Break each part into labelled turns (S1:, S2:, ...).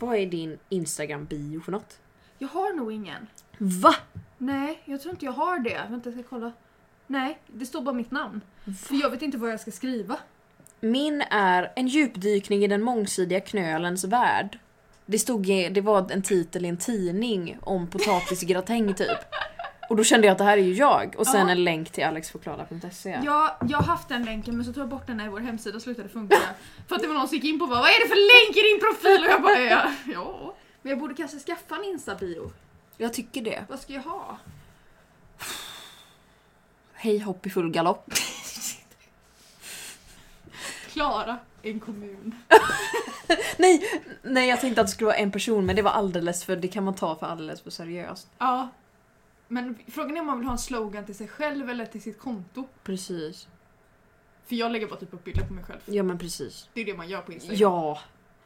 S1: Vad är din Instagram-bio för något?
S2: Jag har nog ingen.
S1: Va?
S2: Nej, jag tror inte jag har det. Vänta, jag ska kolla. Nej, det står bara mitt namn. För jag vet inte vad jag ska skriva.
S1: Min är En djupdykning i den mångsidiga knölens värld. Det, stod, i- det var en titel i en tidning om potatisgratäng typ. Och då kände jag att det här är ju jag. Och sen
S2: Ja.
S1: en länk till alexforklara.se.
S2: Jag, jag har haft den länken men så tog jag bort den när vår hemsida slutade funka. För att det var någon som gick in på och bara, vad är det för länk i din profil? Och jag bara ja. ja. Men jag borde kanske skaffa en instabio.
S1: Jag tycker det.
S2: Vad ska jag ha?
S1: Hej hopp i full galopp.
S2: Klara, en kommun.
S1: Nej, nej jag tänkte att det skulle vara en person men det var alldeles för, det kan man ta för alldeles för seriöst.
S2: Ja. Men frågan är om man vill ha en slogan till sig själv eller till sitt konto.
S1: Precis.
S2: För jag lägger bara typ upp bilder på mig själv.
S1: Ja men precis.
S2: Det är det man gör på Instagram.
S1: Ja.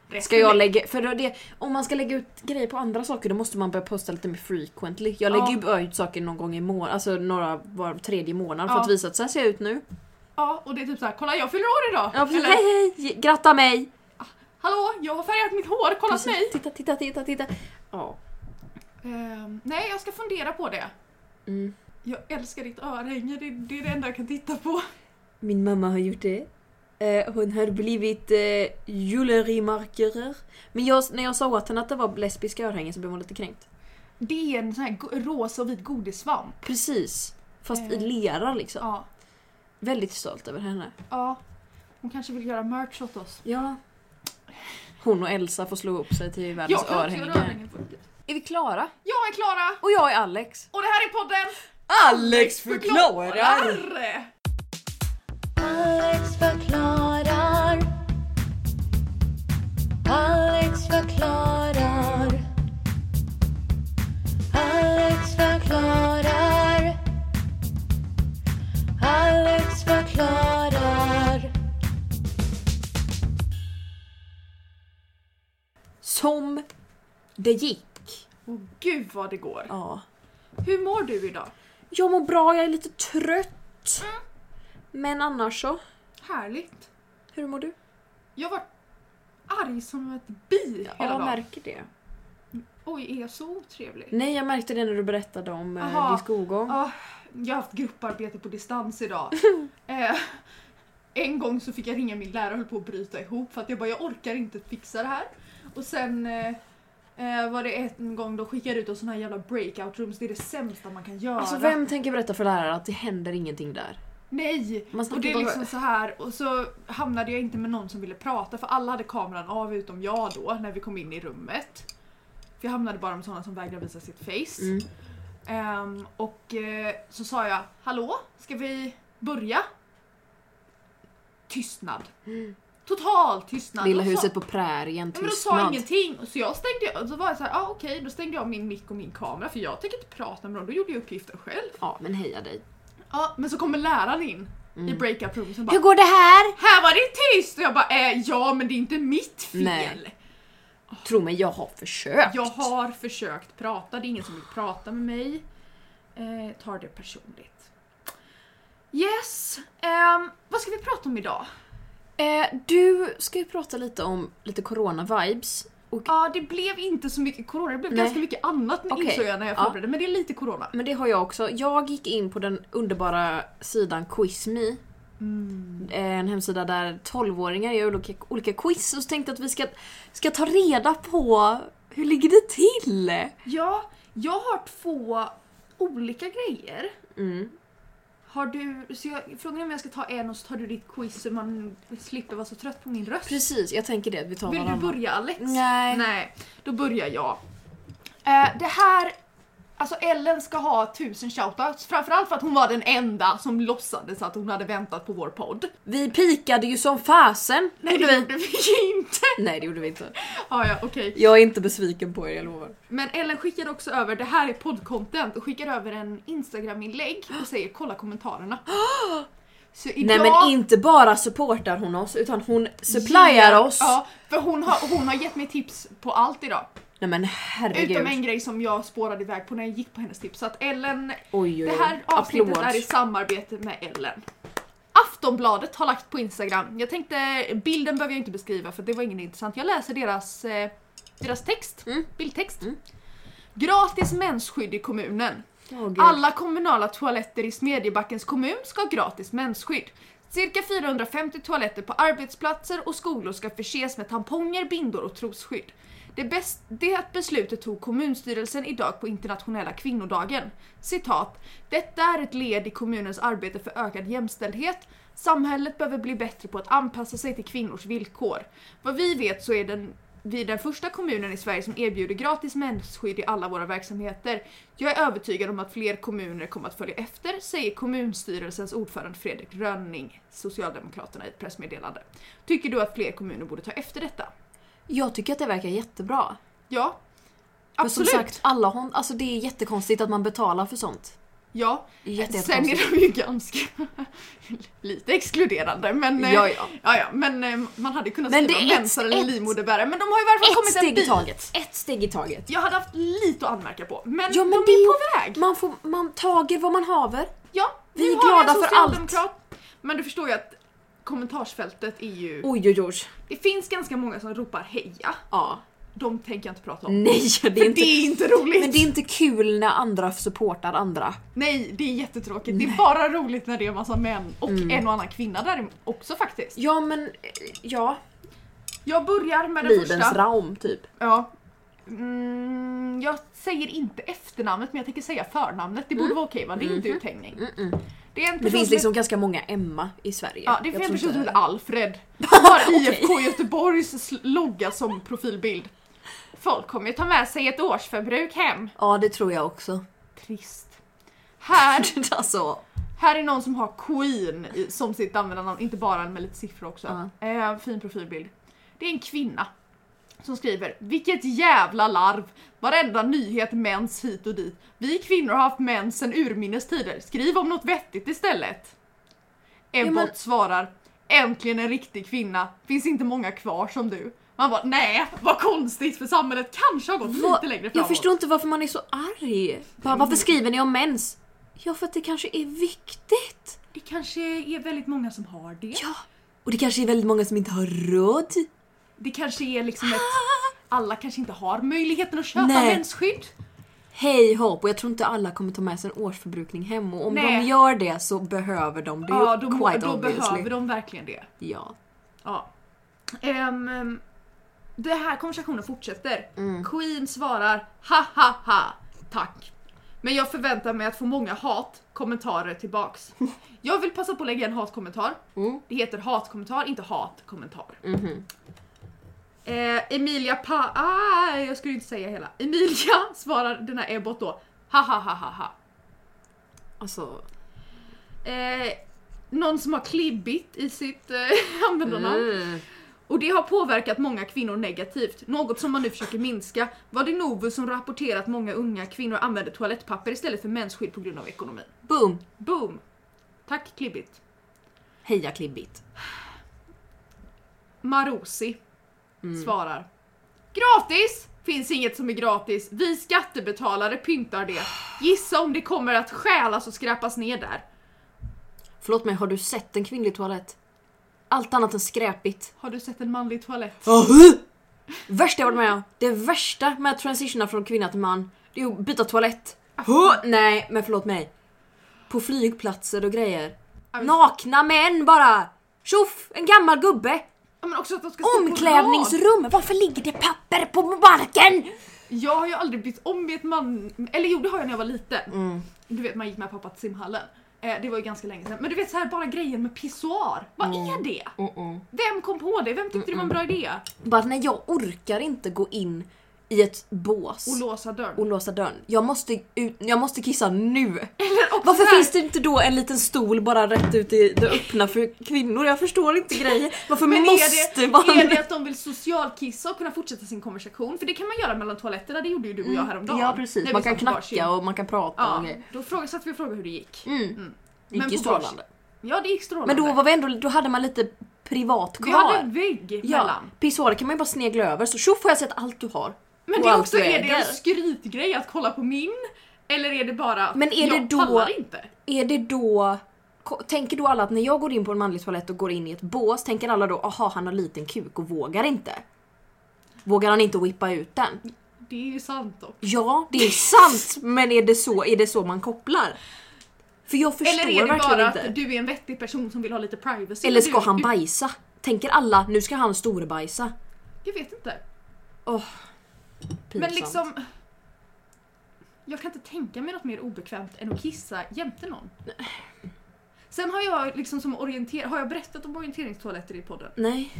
S2: Resten
S1: Ska jag lägga, för då det, om man ska lägga ut grejer på andra saker då måste man börja posta lite mer frequently. Jag lägger
S2: Ja.
S1: ju bara ut saker någon gång i månaden, alltså några var tredje månad för
S2: Ja.
S1: att visa att så här ser jag ut nu.
S2: Ja, och det är typ såhär, kolla jag fyller år idag!
S1: Ja, precis.
S2: Eller,
S1: Hej hej! Gratta mig!
S2: hallå, jag har färgat mitt hår, kolla på
S1: Precis.
S2: mig!
S1: Titta, titta, titta, titta. Ja.
S2: Ehm, nej, jag ska fundera på det.
S1: Mm.
S2: Jag älskar ditt örhänge, det, det är det enda jag kan titta på.
S1: Min mamma har gjort det. Eh, hon har blivit eh, julerimarkörer. Men jag, när jag sa åt henne att det var lesbiska örhängen så blev hon lite kränkt.
S2: Det är en sån här go- rosa och vit godissvamp.
S1: Precis. Fast i
S2: Eh.
S1: lera liksom.
S2: Ja,
S1: Väldigt stolt över henne.
S2: ja. Hon kanske vill göra merch åt oss.
S1: Ja. Hon och Elsa får slå ihop sig till världens
S2: kan också göra
S1: örhänge.
S2: örhängen på riktigt.
S1: Är vi klara?
S2: Jag är Klara
S1: Och jag är Alex.
S2: och det här är podden
S1: Alex
S2: Förklarar!
S3: Alex förklarar. Alex förklarar. Alex förklarar. Alex förklarar.
S1: Som det gick.
S2: Åh gud vad det går.
S1: Ja.
S2: Hur mår du idag?
S1: Jag mår bra, jag är lite trött.
S2: Mm.
S1: Men annars så?
S2: Härligt.
S1: Hur mår du?
S2: Jag var arg som ett bi hela
S1: jag
S2: dagen.
S1: märker det.
S2: Oj, är jag så otrevlig?
S1: Nej, jag märkte det när du berättade om eh,
S2: Aha.
S1: din skolgång.
S2: Ah, jag har haft grupparbete på distans idag. eh, en gång så fick jag ringa min lärare och höll på att bryta ihop för att jag bara jag orkar inte fixa det här. Och sen eh, eh, var det en gång de skickade ut oss såna här jävla breakout rooms, det är det sämsta man kan göra.
S1: Alltså vem tänker berätta för lärare att det händer ingenting där?
S2: Nej!
S1: Man
S2: Och det är
S1: bara-
S2: liksom så här och så hamnade jag inte med någon som ville prata för alla hade kameran av utom jag då när vi kom in i rummet. För jag hamnade bara med sådana som vägrar visa sitt face.
S1: Mm.
S2: Ehm, och eh, så sa jag hallå, ska vi börja? Tystnad. Total tystnad.
S1: Lilla
S2: Och så-
S1: huset på prärien,
S2: Ja, Men då sa jag
S1: tystnad.
S2: ingenting så jag stängde och så var jag så här, ah, okej då stängde jag av min mick och min kamera för jag tänker inte prata med dem, då gjorde jag uppgiften själv.
S1: Ja, men heja dig.
S2: Ja, men så kommer läraren in
S1: Mm.
S2: i breakout room och bara
S1: går det här?
S2: här var det tyst! Och jag bara eh, ja men det är inte mitt fel.
S1: Nej. Tro mig, jag har försökt.
S2: Jag har försökt prata, det är ingen som vill prata med mig. Eh, tar det personligt. Yes, ehm, vad ska vi prata om idag?
S1: Eh, du ska ju prata lite om lite corona-vibes. Och,
S2: Ja, det blev inte så mycket corona, det blev
S1: Nej.
S2: ganska mycket annat
S1: Okej.
S2: insåg jag när jag
S1: Ja.
S2: förberedde, men det är lite corona.
S1: Men det har jag också. Jag gick in på den underbara sidan Quizme.
S2: Mm.
S1: En hemsida där 12-åringar gör olika, olika quiz och så tänkte jag att vi ska, ska ta reda på hur ligger det till?
S2: Ja, jag har två olika grejer.
S1: Mm.
S2: Har du, så jag, frågan är om jag ska ta en och så tar du ditt quiz så man slipper vara så trött på min röst.
S1: Precis, jag tänker det. Vi tar
S2: Vill du
S1: varannan.
S2: börja Alex?
S1: Nej.
S2: Nej, då börjar jag. Eh, det här, alltså Ellen ska ha tusen shoutouts, framförallt för att hon var den enda som låtsades att hon hade väntat på vår podd.
S1: Vi pikade ju som fasen!
S2: Nej det gjorde vi ju inte!
S1: Nej det gjorde vi inte.
S2: Ah, ja, okej.
S1: Jag är inte besviken på er, jag lovar.
S2: Men Ellen skickade också över, det här är poddcontent, och skickar över en instagram-inlägg och säger kolla kommentarerna. Så idag...
S1: Nej men inte bara supportar hon oss utan hon supplyar oss.
S2: Ja, för hon har, hon har gett mig tips på allt idag.
S1: Nej men herregud.
S2: Utom en grej som jag spårade iväg på när jag gick på hennes tips. Så att Ellen
S1: Oj, oj, oj.
S2: Det här avsnittet
S1: Eh, Applåd.
S2: är i samarbete med Ellen. Aftonbladet har lagt på Instagram. Jag tänkte, bilden behöver jag inte beskriva för det var ingen intressant. Jag läser deras eh, Deras text,
S1: Mm.
S2: bildtext.
S1: Mm.
S2: Gratis mensskydd i kommunen.
S1: Åh, gud.
S2: Alla kommunala toaletter i Smedjebackens kommun ska ha gratis mensskydd. Cirka 450 toaletter på arbetsplatser och skolor ska förses med tamponger, bindor och trosskydd. Det, bäst, det beslutet tog kommunstyrelsen idag på internationella kvinnodagen. Citat. Detta är ett led i kommunens arbete för ökad jämställdhet. Samhället behöver bli bättre på att anpassa sig till kvinnors villkor. Vad vi vet så är den, vi den första kommunen i Sverige som erbjuder gratis mensskydd i alla våra verksamheter. Jag är övertygad om att fler kommuner kommer att följa efter, säger kommunstyrelsens ordförande Fredrik Rönning, Socialdemokraterna, i ett pressmeddelande. Tycker du att fler kommuner borde ta efter detta?
S1: Jag tycker att det verkar jättebra.
S2: Ja.
S1: För som
S2: Absolut.
S1: sagt, alla hon, alltså det är jättekonstigt att man betalar för sånt.
S2: ja.
S1: Jätte,
S2: Sen
S1: jättekonstigt.
S2: är de ju ganska lite exkluderande men, eh,
S1: Ja, ja.
S2: Ja, ja, men eh, man hade kunnat
S1: Men
S2: skriva
S1: det är ett-
S2: mensare eller
S1: ett-
S2: livmoderbärare men de har ju i varje fall
S1: Ett
S2: kommit en
S1: steg i
S2: bit.
S1: taget. Ett steg i taget.
S2: Jag hade haft lite att anmärka på men,
S1: Ja, men
S2: de
S1: det
S2: är
S1: är
S2: på
S1: ju-
S2: väg.
S1: Man, får, man tager vad man haver.
S2: Ja,
S1: Vi
S2: nu
S1: är
S2: har
S1: glada
S2: en
S1: för allt.
S2: socialdemokrat. Men du förstår ju att kommentarsfältet är ju...
S1: Oj, oj, oj.
S2: Det finns ganska många som ropar heja.
S1: Ja.
S2: De tänker jag inte prata om.
S1: Nej, det
S2: För
S1: är inte...
S2: det är inte roligt!
S1: Men det är inte kul när andra supportar andra.
S2: Nej, det är jättetråkigt. Det är bara roligt när det är massa män och
S1: Mm.
S2: en och annan kvinna där också faktiskt.
S1: Ja, men... eh, Ja.
S2: Jag börjar med den
S1: Bibelns
S2: första.
S1: Raum, typ.
S2: Ja. Mm, jag säger inte efternamnet men jag tänker säga förnamnet. Det borde vara okej va? Det är inte uthängning.
S1: Mm. Mm-hmm. Mm-mm.
S2: Det är en
S1: Det
S2: person
S1: finns
S2: som-
S1: liksom ganska många Emma i Sverige.
S2: Ja, det är
S1: Jag
S2: för en
S1: tror
S2: person som
S1: inte-
S2: heter Alfred. Han har IFK Göteborgs sl- logga som profilbild. Folk kommer ju ta med sig ett årsförbruk hem.
S1: Ja, det tror jag också.
S2: Trist. Här,
S1: alltså,
S2: här är någon som har Queen i, som sitt användarnamn, inte bara med lite siffror också. Eh, fin profilbild. Det är en kvinna som skriver “Vilket jävla larv! Varenda nyhet mens hit och dit. Vi kvinnor har haft mens sen urminnes tider. Skriv om något vettigt istället!” En
S1: Ja, men-
S2: bot svarar “Äntligen en riktig kvinna. Finns inte många kvar som du.” Man bara “Nej, vad konstigt för samhället kanske har gått
S1: vad-
S2: lite längre framåt.”
S1: jag förstår inte varför man är så arg. Bara,
S2: Mm.
S1: varför skriver ni om mens? Ja, för att det kanske är viktigt.
S2: Det kanske är väldigt många som har det.
S1: Ja. Och det kanske är väldigt många som inte har råd.
S2: Det kanske är liksom ett... Alla kanske inte har möjligheten att köpa
S1: Ah. Nej.
S2: mensskydd.
S1: Hej hopp! Och jag tror inte alla kommer ta med sig en årsförbrukning hem och om
S2: Nej.
S1: de gör det så behöver de det
S2: Ja,
S1: ju
S2: då, må-
S1: quite
S2: då
S1: obviously.
S2: behöver de verkligen det.
S1: Ja.
S2: Ja. Um, det här konversationen fortsätter.
S1: Mm.
S2: Queen svarar ha ha ha, tack. Men jag förväntar mig att få många hatkommentarer tillbaks. Jag vill passa på att lägga en hatkommentar.
S1: Mm.
S2: Det heter hatkommentar, inte hatkommentar. Eh, Emilia pa... Ah, jag skulle inte säga hela. Emilia svarar den här Ebbot då. Ha ha ha ha ha.
S1: Alltså,
S2: Eh, någon som har klibbit i sitt eh, användarnamn.
S1: mm.
S2: Och det har påverkat många kvinnor negativt, något som man nu försöker minska. Var det Novus som rapporterat att många unga kvinnor använder toalettpapper istället för mensskydd på grund av ekonomin?
S1: boom!
S2: Boom! Tack Klibbit.
S1: Heja klibbigt.
S2: Marosi svarar. Gratis! Finns inget som är gratis. Vi skattebetalare pyntar det. Gissa om det kommer att stjälas och skräpas ner där.
S1: Förlåt mig, har du sett en kvinnlig toalett? Allt annat än skräpigt.
S2: Har du sett en manlig toalett?
S1: Värsta jag varit med om, det värsta med att transitiona från kvinna till man, det är att byta toalett. Nej, men förlåt mig. På flygplatser och grejer.
S2: men-
S1: Nakna män bara! Tjoff! En gammal gubbe!
S2: Ja, men också att de ska stå på rad.
S1: Omklädningsrum! Varför ligger det papper på marken?
S2: Jag har ju aldrig bytt om i ett man... Eller jo det har jag när jag var liten. Du vet man gick med pappa till simhallen. Eh, det var ju ganska länge sedan. Men du vet så här bara grejen med pissoar. Vad är det? Vem kom på det? Vem tyckte det var en bra idé?
S1: Bara nej, jag orkar inte gå in i ett bås
S2: Och låsa dörren.
S1: och låsa dörren. Jag måste, ut, jag måste kissa nu.
S2: Eller också
S1: Varför
S2: så här,
S1: finns det inte då en liten stol bara rätt ut i det öppna för kvinnor? Jag förstår inte grejen. Varför
S2: men är
S1: måste
S2: det,
S1: man?
S2: är det att de vill socialkissa och kunna fortsätta sin konversation? För det kan man göra mellan toaletterna, det gjorde ju du och jag häromdagen.
S1: Mm. Ja precis,
S2: När vi
S1: man kan
S2: satt på varsin.
S1: knacka och man kan prata och
S2: Ja,
S1: grejer.
S2: då frågade, satt vi och frågade hur det gick.
S1: Mm. Det
S2: Men
S1: gick ju
S2: på varsin-
S1: strålande.
S2: Ja det gick strålande.
S1: Men då var vi ändå, då hade man lite privat
S2: vi hade en
S1: kvar.
S2: vägg
S1: Ja,
S2: mellan.
S1: pissoarer kan man ju bara snegla över så tjoff har jag sett allt du har.
S2: Men
S1: Och
S2: det är
S1: allt
S2: också,
S1: du
S2: är det
S1: äger.
S2: en skrytgrej att kolla på min? Eller är det bara att
S1: Men är
S2: jag
S1: det då-
S2: pallar inte?
S1: Är det då, ko- tänker då alla att när jag går in på en manlig toalett och går in i ett bås, tänker alla då aha han har liten kuk och vågar inte? vågar han inte whippa ut den.
S2: Det är ju sant dock.
S1: Ja, det är sant! Men är det så, är det så man kopplar? För jag förstår
S2: Eller är det
S1: verkligen
S2: bara
S1: inte.
S2: att du är en vettig person som vill ha lite privacy?
S1: Eller ska
S2: du,
S1: han
S2: du-
S1: bajsa? Tänker alla, nu ska han storbajsa.
S2: Jag vet inte.
S1: Åh,
S2: Men
S1: pinsamt.
S2: liksom... Jag kan inte tänka mig något mer obekvämt än att kissa jämte någon. Sen har jag liksom som orienter... Har jag berättat om orienteringstoaletter i podden?
S1: Nej,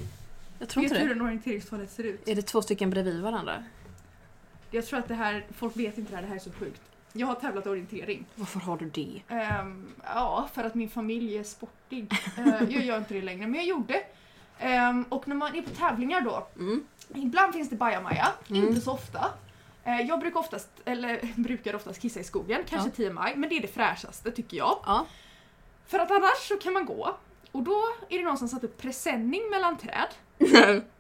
S1: jag tror
S2: vet
S1: inte
S2: du
S1: det.
S2: hur en orienteringstoalett ser ut?
S1: Är det två stycken bredvid varandra?
S2: Jag tror att det här... Folk vet inte det här, det här är så sjukt. Jag har tävlat i orientering.
S1: Varför har du det?
S2: Ehm, ja, för att min familj är sportig. Ehm, jag gör inte det längre, men jag gjorde. Ehm, och när man är på tävlingar då,
S1: Mm.
S2: ibland finns det bajamaja,
S1: Mm.
S2: inte så ofta. Ehm, jag brukar oftast, eller brukar oftast kissa i skogen, kanske 10 maj, men det är det fräschaste tycker jag.
S1: Ja.
S2: För att annars så kan man gå, och då är det någon som satt upp presenning mellan träd.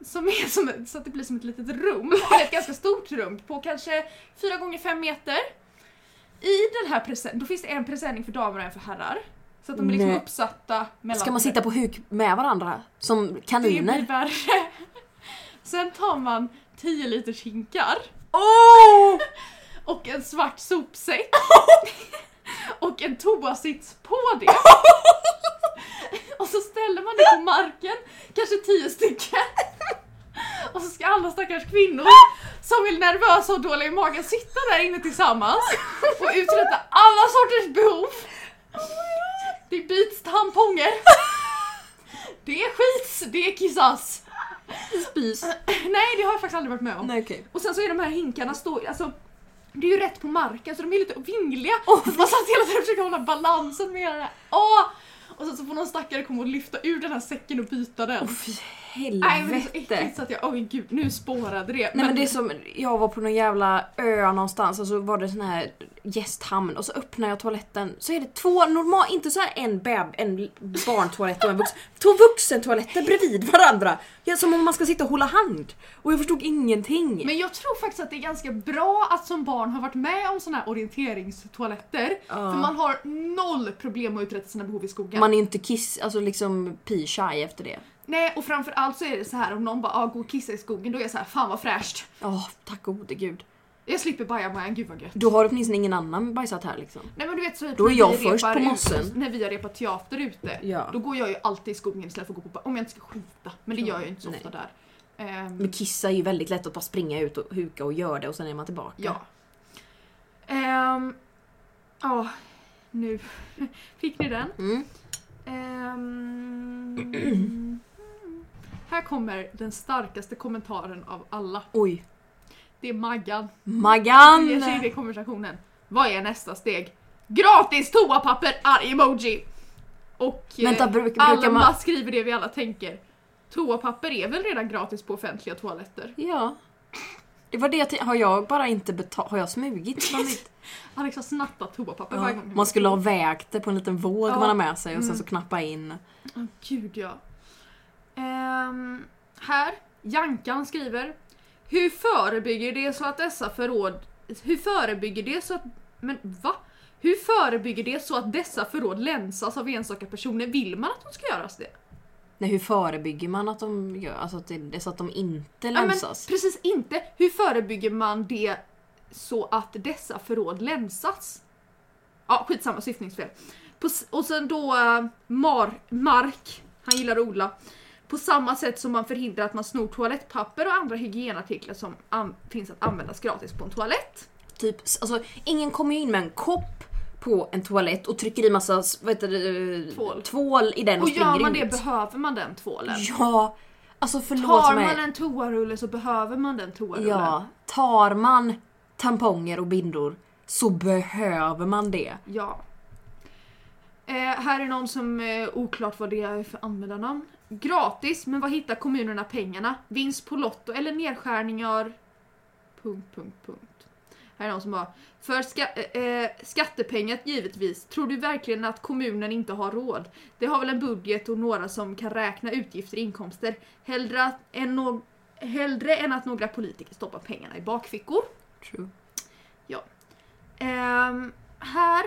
S2: Som är som, ett- så att det blir som ett litet rum, eller ett ganska stort rum på kanske 4 gånger 5 meter. I den här presenningen, då finns det en presenning för damer och en för herrar. Så att de är liksom
S1: Nej.
S2: uppsatta mellan...
S1: Ska man sitta på huk med varandra? Som
S2: Det blir
S1: kaniner?
S2: värre. Sen tar man 10 liters hinkar
S1: Åh!
S2: och en svart sopsäck. och en toasits på det. och så ställer man det på marken, kanske tio stycken. och så ska alla stackars kvinnor som är nervösa och dåliga i magen sitta där inne tillsammans och uträtta alla sorters behov. Det byts tamponger. Det är skits, det är kissas.
S1: Spys.
S2: Nej, det har jag faktiskt aldrig varit med om.
S1: Nej okej.
S2: Och sen så är de här hinkarna stå, alltså det är ju rätt på marken så de är lite vingliga.
S1: Åh,
S2: så man satt hela tiden och försökte hålla balansen med det här. Åh! Och sen så får någon stackare komma och lyfta ur den här säcken och byta den.
S1: Fy
S2: Nej men det är så
S1: helvete.
S2: äckligt så att jag, åh gud nu spårade det.
S1: Nej men det är som, jag var på någon jävla ö någonstans och så var det sån här gästhamn och så öppnar jag toaletten så är det två normal, inte så här en, beb, en barntoalett och en vuxen, två vuxentoaletter bredvid varandra. Ja, som om man ska sitta och hålla hand. Och jag förstod ingenting.
S2: Men jag tror faktiskt att det är ganska bra att som barn har varit med om såna här orienteringstoaletter. För man har noll problem att uträtta sina behov i skogen.
S1: Man är inte kiss, alltså liksom pi-shy efter det.
S2: Nej och framförallt så är det så här om någon bara ah, gå och kissa i skogen då är jag så här fan vad fräscht.
S1: Åh, tack gode gud.
S2: Jag slipper bajamajan, gud vad gött.
S1: Då har åtminstone ingen annan bajsat här liksom.
S2: Nej men du vet så att
S1: Då är
S2: när
S1: jag
S2: vi
S1: först
S2: repar
S1: på
S2: ut-
S1: mossen.
S2: När vi har repat teater ute,
S1: Ja.
S2: då går jag ju alltid i skogen istället för att gå på ba- Om jag inte ska skita. Men det gör jag ju inte så
S1: Nej.
S2: ofta där. Ehm,
S1: Men kissa är ju väldigt lätt att bara springa ut och huka och göra det och sen är man tillbaka.
S2: ja. Ehm, Ja, nu fick ni den.
S1: Mm.
S2: Ehm, här kommer den starkaste kommentaren av alla.
S1: Oj.
S2: Det är Maggan.
S1: Maggan!
S2: Jag säger det i konversationen. Vad är nästa steg? Gratis toapapper! Arg emoji! Och eh,
S1: Vänta, bruk, brukar
S2: alla
S1: man...
S2: skriver det vi alla tänker. Toapapper är väl redan gratis på offentliga toaletter?
S1: Ja. Det var det jag tänkte. Har jag bara inte betalat? Har jag smugit? från mitt-
S2: Alex har liksom snattat toapapper
S1: Ja.
S2: varje gång.
S1: Man skulle ha vägt det på en liten våg
S2: Ja.
S1: man har med sig och sen
S2: Mm.
S1: så knappa in.
S2: Åh, gud ja. Ehm, här, Jankan skriver. Hur förebygger det så att dessa förråd... Hur förebygger det så att... Men va? Hur förebygger det så att dessa förråd länsas av enstaka personer? Vill man att de ska göras det?
S1: Nej, hur förebygger man att de gör, alltså att det, det är så att de inte
S2: Ja, men
S1: länsas?
S2: precis inte. Hur förebygger man det så att dessa förråd länsas? Ja, skitsamma, syftningsfel. På, s- och sen då eh, Mar, Mark, han gillar att odla. På samma sätt som man förhindrar att man snor toalettpapper och andra hygienartiklar som an- finns att användas gratis på en toalett.
S1: Typ, alltså ingen kommer ju in med en kopp på en toalett och trycker i massa s- vad heter det,
S2: Tvål.
S1: tvål i den och,
S2: Och gör man
S1: springer
S2: det
S1: ut.
S2: behöver man den tvålen.
S1: ja! Alltså förlåt
S2: Tar
S1: mig.
S2: man en toarulle så behöver man den toarullen.
S1: Ja, tar man tamponger och bindor så behöver man det.
S2: Ja. Eh, här är någon som eh, oklart vad det är för användarnamn. Gratis, men vad hittar kommunerna pengarna? Vinst på Lotto eller nedskärningar? Punkt, punkt, punkt. Här är någon som bara. För ska, eh, eh, skattepengar givetvis. Tror du verkligen att kommunen inte har råd? Det har väl en budget och några som kan räkna utgifter och inkomster. Hellre, att, än, no- hellre än att några politiker stoppar pengarna i bakfickor.
S1: True.
S2: Ehm, här.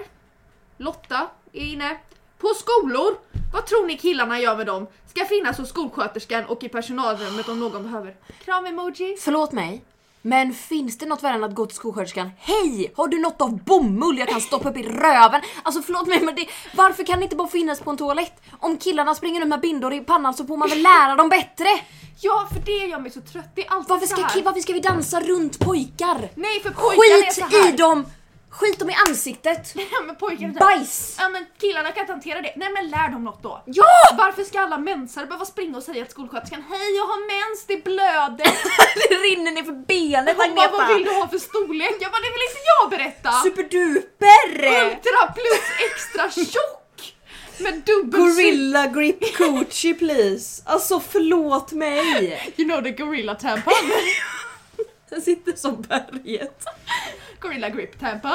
S2: Lotta är inne. På skolor Vad tror ni killarna gör med dem? Ska finnas hos skolsköterskan och i personalrummet om någon behöver. Kram-emoji.
S1: Förlåt mig. Men finns det något värre än att gå till skolsköterskan? Hej! Har du något av bomull jag kan stoppa upp i röven? Alltså förlåt mig men det, varför kan det inte bara finnas på en toalett? Om killarna springer runt med bindor i pannan så får man väl lära dem bättre?
S2: Ja, för det gör mig så trött. Det är alltid
S1: Varför
S2: så
S1: ska,
S2: här.
S1: ki- varför ska vi dansa runt pojkar?
S2: Nej, för pojkar är så
S1: Skit
S2: här.
S1: i dem! Skit dem i ansiktet!
S2: Ja, men pojkar är så här.
S1: Bajs!
S2: Ja, men killarna kan inte hantera det. Nej, men lär dem något då. Ah,
S1: Ja!
S2: Varför ska alla mensare behöva springa och säga till skolsköterskan Hej, jag har mens, det blöder.
S1: Det rinner ner för benet
S2: Hon bara, vad vill
S1: Agneta!
S2: du ha för storlek? Jag bara, det vill inte jag berätta!
S1: Superduper!
S2: Ultra plus extra tjock! Med dubbel
S1: Gorilla grip coochie please! Alltså förlåt mig!
S2: sy- You know the gorilla tampon.
S1: Den sitter som berget.
S2: gorilla grip tampon.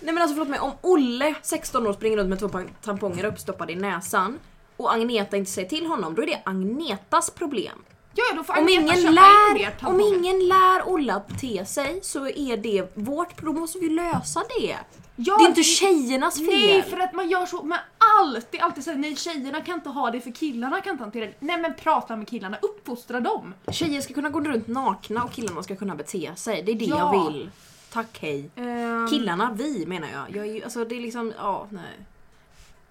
S1: Nej men alltså förlåt mig, om Olle, 16 år, springer runt med två pam- tamponger uppstoppade i näsan och Agneta inte säger till honom, då är det Agnetas problem.
S2: Ja, ja, då får
S1: Om
S2: Agneta köpa
S1: ingen,
S2: in mer
S1: lär, om
S2: tamponger.
S1: ingen lär Olle att bete sig så är det vårt problem, då måste vi lösa det.
S2: Ja,
S1: Det är inte tjejernas fel.
S2: Nej, för att man gör så med allt. Det är alltid såhär, nej tjejerna kan inte ha det för killarna kan inte hantera det. Nej men prata med killarna, uppfostra dem.
S1: Tjejer ska kunna gå runt nakna och killarna ska kunna bete sig. Det är det
S2: Ja.
S1: jag vill. Tack hej.
S2: Ehm,
S1: Killarna, vi menar jag. jag är ju, alltså det är liksom, ja nej.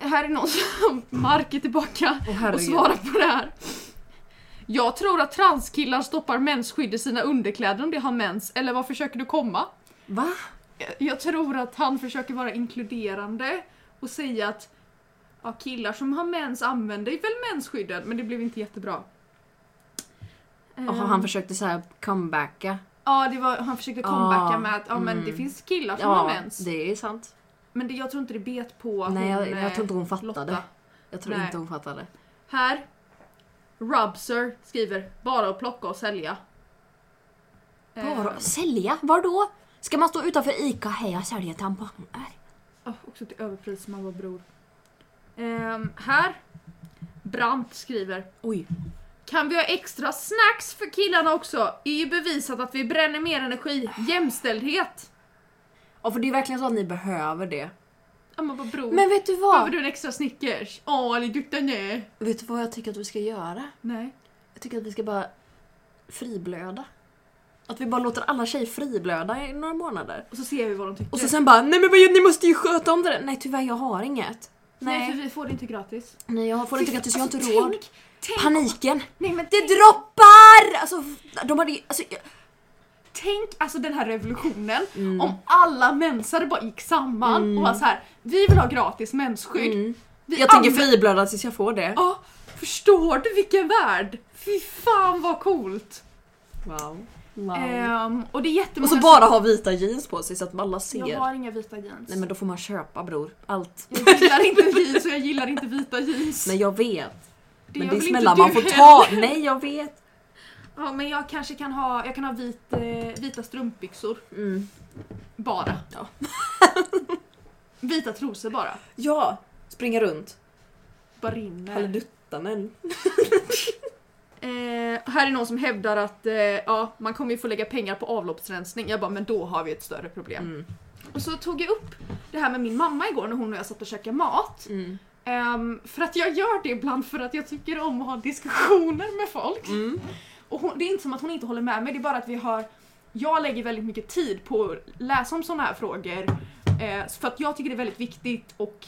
S2: Här är någon som, Mark är tillbaka
S1: Åh, herregud.
S2: och svarar på det här. Jag tror att transkillar stoppar mensskydd i sina underkläder om de har mens, eller vad försöker du komma?
S1: Va?
S2: Jag- Jag tror att han försöker vara inkluderande och säga att ja, killar som har mens använder ju väl mensskydden, men det blev inte jättebra.
S1: Jaha,
S2: Ehm,
S1: han försökte så här comebacka.
S2: Ja, det var, han försökte comebacka
S1: Ah,
S2: med att ja, men det
S1: mm.
S2: finns killar som har
S1: Ja,
S2: mens.
S1: det är sant.
S2: Men det, jag tror inte det bet på
S1: Nej, jag, jag
S2: eh,
S1: tror inte hon fattade.
S2: Lotta.
S1: Jag tror
S2: Nej.
S1: inte hon fattade.
S2: Här. Rubser skriver bara att plocka och sälja. Eh,
S1: Bara sälja? Var då? Ska man stå utanför ICA? Hej, jag säljer tamponger.
S2: ah, också till överpris man var bror. Ehm, här. Brant skriver.
S1: Oj.
S2: Kan vi ha extra snacks för killarna också? Är ju bevisat att vi bränner mer energi. Jämställdhet.
S1: Ja, för det är verkligen så att ni behöver det.
S2: Ja men vad bror.
S1: Men vet du
S2: Behöver
S1: vad?
S2: du en extra Snickers? Åh, eller gutta nej.
S1: Vet du vad jag tycker att vi ska göra?
S2: Nej.
S1: Jag tycker att vi ska bara friblöda. Att vi bara låter alla tjejer friblöda i några månader.
S2: Och så ser vi vad de tycker.
S1: Och så sen bara nej men vad gör- ni måste ju sköta om det där. Nej tyvärr jag har inget.
S2: nej.
S1: Nej,
S2: för vi får det inte gratis.
S1: nej jag får inte gratis, jag har inte
S2: Alltså,
S1: råd.
S2: Tänk, tänk,
S1: Paniken!
S2: nej, men
S1: Det
S2: tänk,
S1: droppar! Alltså f- de hade ju- alltså, jag-
S2: tänk alltså den här revolutionen
S1: Mm.
S2: om alla mensare bara gick samman
S1: Mm.
S2: och var så här. vi vill ha gratis mensskydd.
S1: Mm.
S2: Vi
S1: Jag tänker
S2: använder-
S1: friblöda tills jag får det.
S2: Ja, förstår du vilken värld? Fy fan vad coolt!
S1: Wow. wow.
S2: Ehm, och det är jättemånga
S1: Eh, och så bara ha vita jeans på sig så att alla
S2: som-
S1: ser.
S2: Jag har inga vita jeans.
S1: Nej men då får man köpa bror. Allt.
S2: Jag gillar inte jeans och jag gillar inte vita jeans.
S1: Nej jag vet.
S2: det
S1: men
S2: gör
S1: det är
S2: väl inte
S1: smällar
S2: du
S1: man får
S2: heller?
S1: ta. Nej jag vet.
S2: Ja, men jag kanske kan ha, jag kan ha vit, eh, vita strumpbyxor.
S1: Mm.
S2: Bara.
S1: Ja.
S2: vita trosor bara.
S1: Ja, springa runt.
S2: Bara rinner.
S1: Halleluttanen.
S2: Eh, här är någon som hävdar att eh, ja, man kommer ju få lägga pengar på avloppsrensning. Jag bara, men då har vi ett större problem.
S1: Mm.
S2: Och så tog jag upp det här med min mamma igår när hon och jag satt och käkade mat.
S1: Mm.
S2: Ehm, för att jag gör det ibland för att jag tycker om att ha diskussioner med folk.
S1: Mm.
S2: Och hon, det är inte som att hon inte håller med mig, det är bara att vi har jag lägger väldigt mycket tid på att läsa om sådana här frågor eh, för att jag tycker det är väldigt viktigt och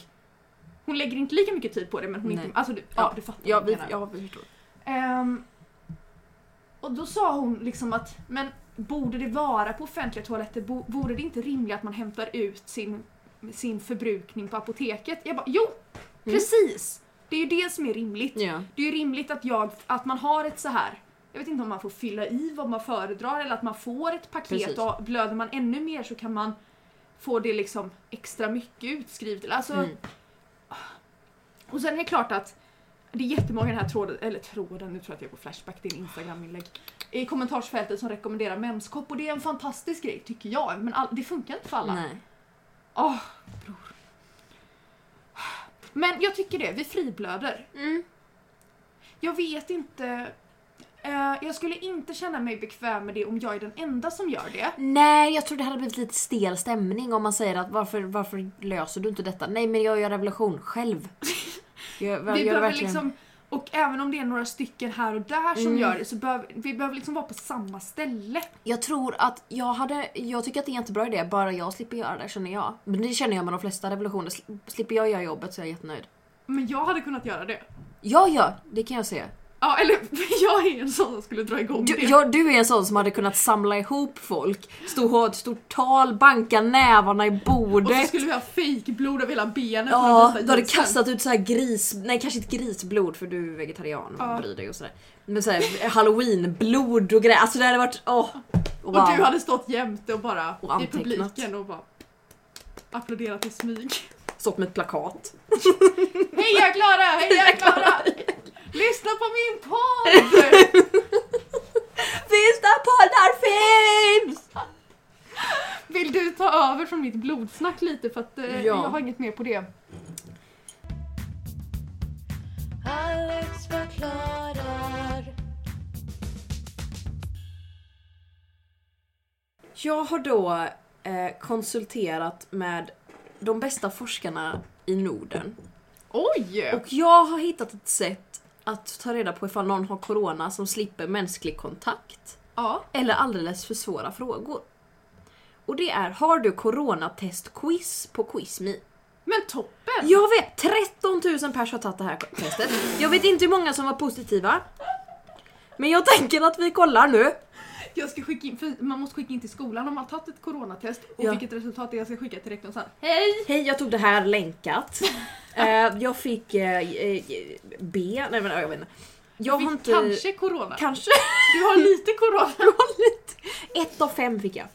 S2: hon lägger inte lika mycket tid på det men hon
S1: Nej.
S2: inte... Alltså, du, ja,
S1: Ja,
S2: du fattar
S1: Ja,
S2: vad jag
S1: vi,
S2: menar.
S1: ja, vi förstår.
S2: Ehm, och då sa hon liksom att men borde det vara på offentliga toaletter, bo, vore det inte rimligt att man hämtar ut sin, sin förbrukning på apoteket? Jag bara jo!
S1: Mm.
S2: Precis! Det är ju det som är rimligt.
S1: Ja.
S2: Det är ju rimligt att, jag, att man har ett så här. Jag vet inte om man får fylla i vad man föredrar eller att man får ett paket
S1: Precis.
S2: och blöder man ännu mer så kan man få det liksom extra mycket utskrivet. Alltså,
S1: Mm.
S2: Och sen är det klart att det är jättemånga i den här tråden, eller tråden, nu tror jag att jag går flashback till en instagraminlägg i kommentarsfältet som rekommenderar menskopp och det är en fantastisk grej tycker jag men all, det funkar inte för alla.
S1: Nej.
S2: Åh, bror. Men jag tycker det, vi friblöder.
S1: Mm.
S2: Jag vet inte. Eh, jag skulle inte känna mig bekväm med det om jag är den enda som gör det.
S1: Nej, jag tror det hade blivit lite stel stämning om man säger att varför, varför löser du inte detta? Nej, men jag gör revolution själv. Jag, jag, jag
S2: Vi behöver
S1: verkligen...
S2: liksom, och även om det är några stycken här och där som
S1: Mm.
S2: gör det så behöver vi behöver liksom vara på samma ställe.
S1: Jag tror att jag hade, jag tycker att det är en jättebra idé, bara jag slipper göra det känner jag. Men det känner jag med de flesta revolutioner, Sli- slipper jag göra jobbet så är jag jättenöjd.
S2: Men jag hade kunnat göra det.
S1: Ja, ja, det kan jag se.
S2: Ja, eller jag är en sån som skulle dra igång
S1: Du,
S2: det.
S1: jag, du är en sån som hade kunnat samla ihop folk, stå och ha ett stort tal, banka nävarna i
S2: och så
S1: bordet.
S2: skulle vi ha fejkblod över hela benet.
S1: Ja,
S2: från
S1: du hade
S2: vita jeansen.
S1: kastat ut så här gris, nej kanske inte grisblod för du är vegetarian och
S2: Ja.
S1: bryr dig och sådär. Men såhär halloweenblod och grejer, alltså det hade varit, åh! wow.
S2: Och du hade stått jämte och bara
S1: Och
S2: i
S1: antecknat.
S2: publiken och bara applåderat i smyg.
S1: Stått med ett plakat.
S2: Heja Klara! Heja Klara! Lyssna på min podd!
S1: Finns där poddar finns!
S2: Vill du ta över från mitt blodsnack lite för att eh,
S1: Ja.
S2: jag har inget mer på det.
S3: Alex förklarar.
S1: Jag har då eh, konsulterat med de bästa forskarna i Norden.
S2: Oj!
S1: Och jag har hittat ett sätt att ta reda på ifall någon har corona som slipper mänsklig kontakt.
S2: ja.
S1: Eller alldeles för svåra frågor. Och det är, har du coronatestquiz på Quizme?
S2: Men toppen!
S1: Jag vet! 13 000 pers har tagit det här testet. Jag vet inte hur många som var positiva. Men jag tänker att vi kollar nu.
S2: Jag ska skicka in, för man måste skicka in till skolan om man har tagit ett coronatest och
S1: Ja.
S2: vilket resultat det är jag ska skicka till rektorn sen.
S1: Hej! Hej, jag tog det här länkat. Eh, jag fick eh, eh, B, nej men jag vet inte. Jag har inte...
S2: Kanske corona.
S1: Kanske.
S2: Du har lite corona.
S1: Ett av fem fick jag.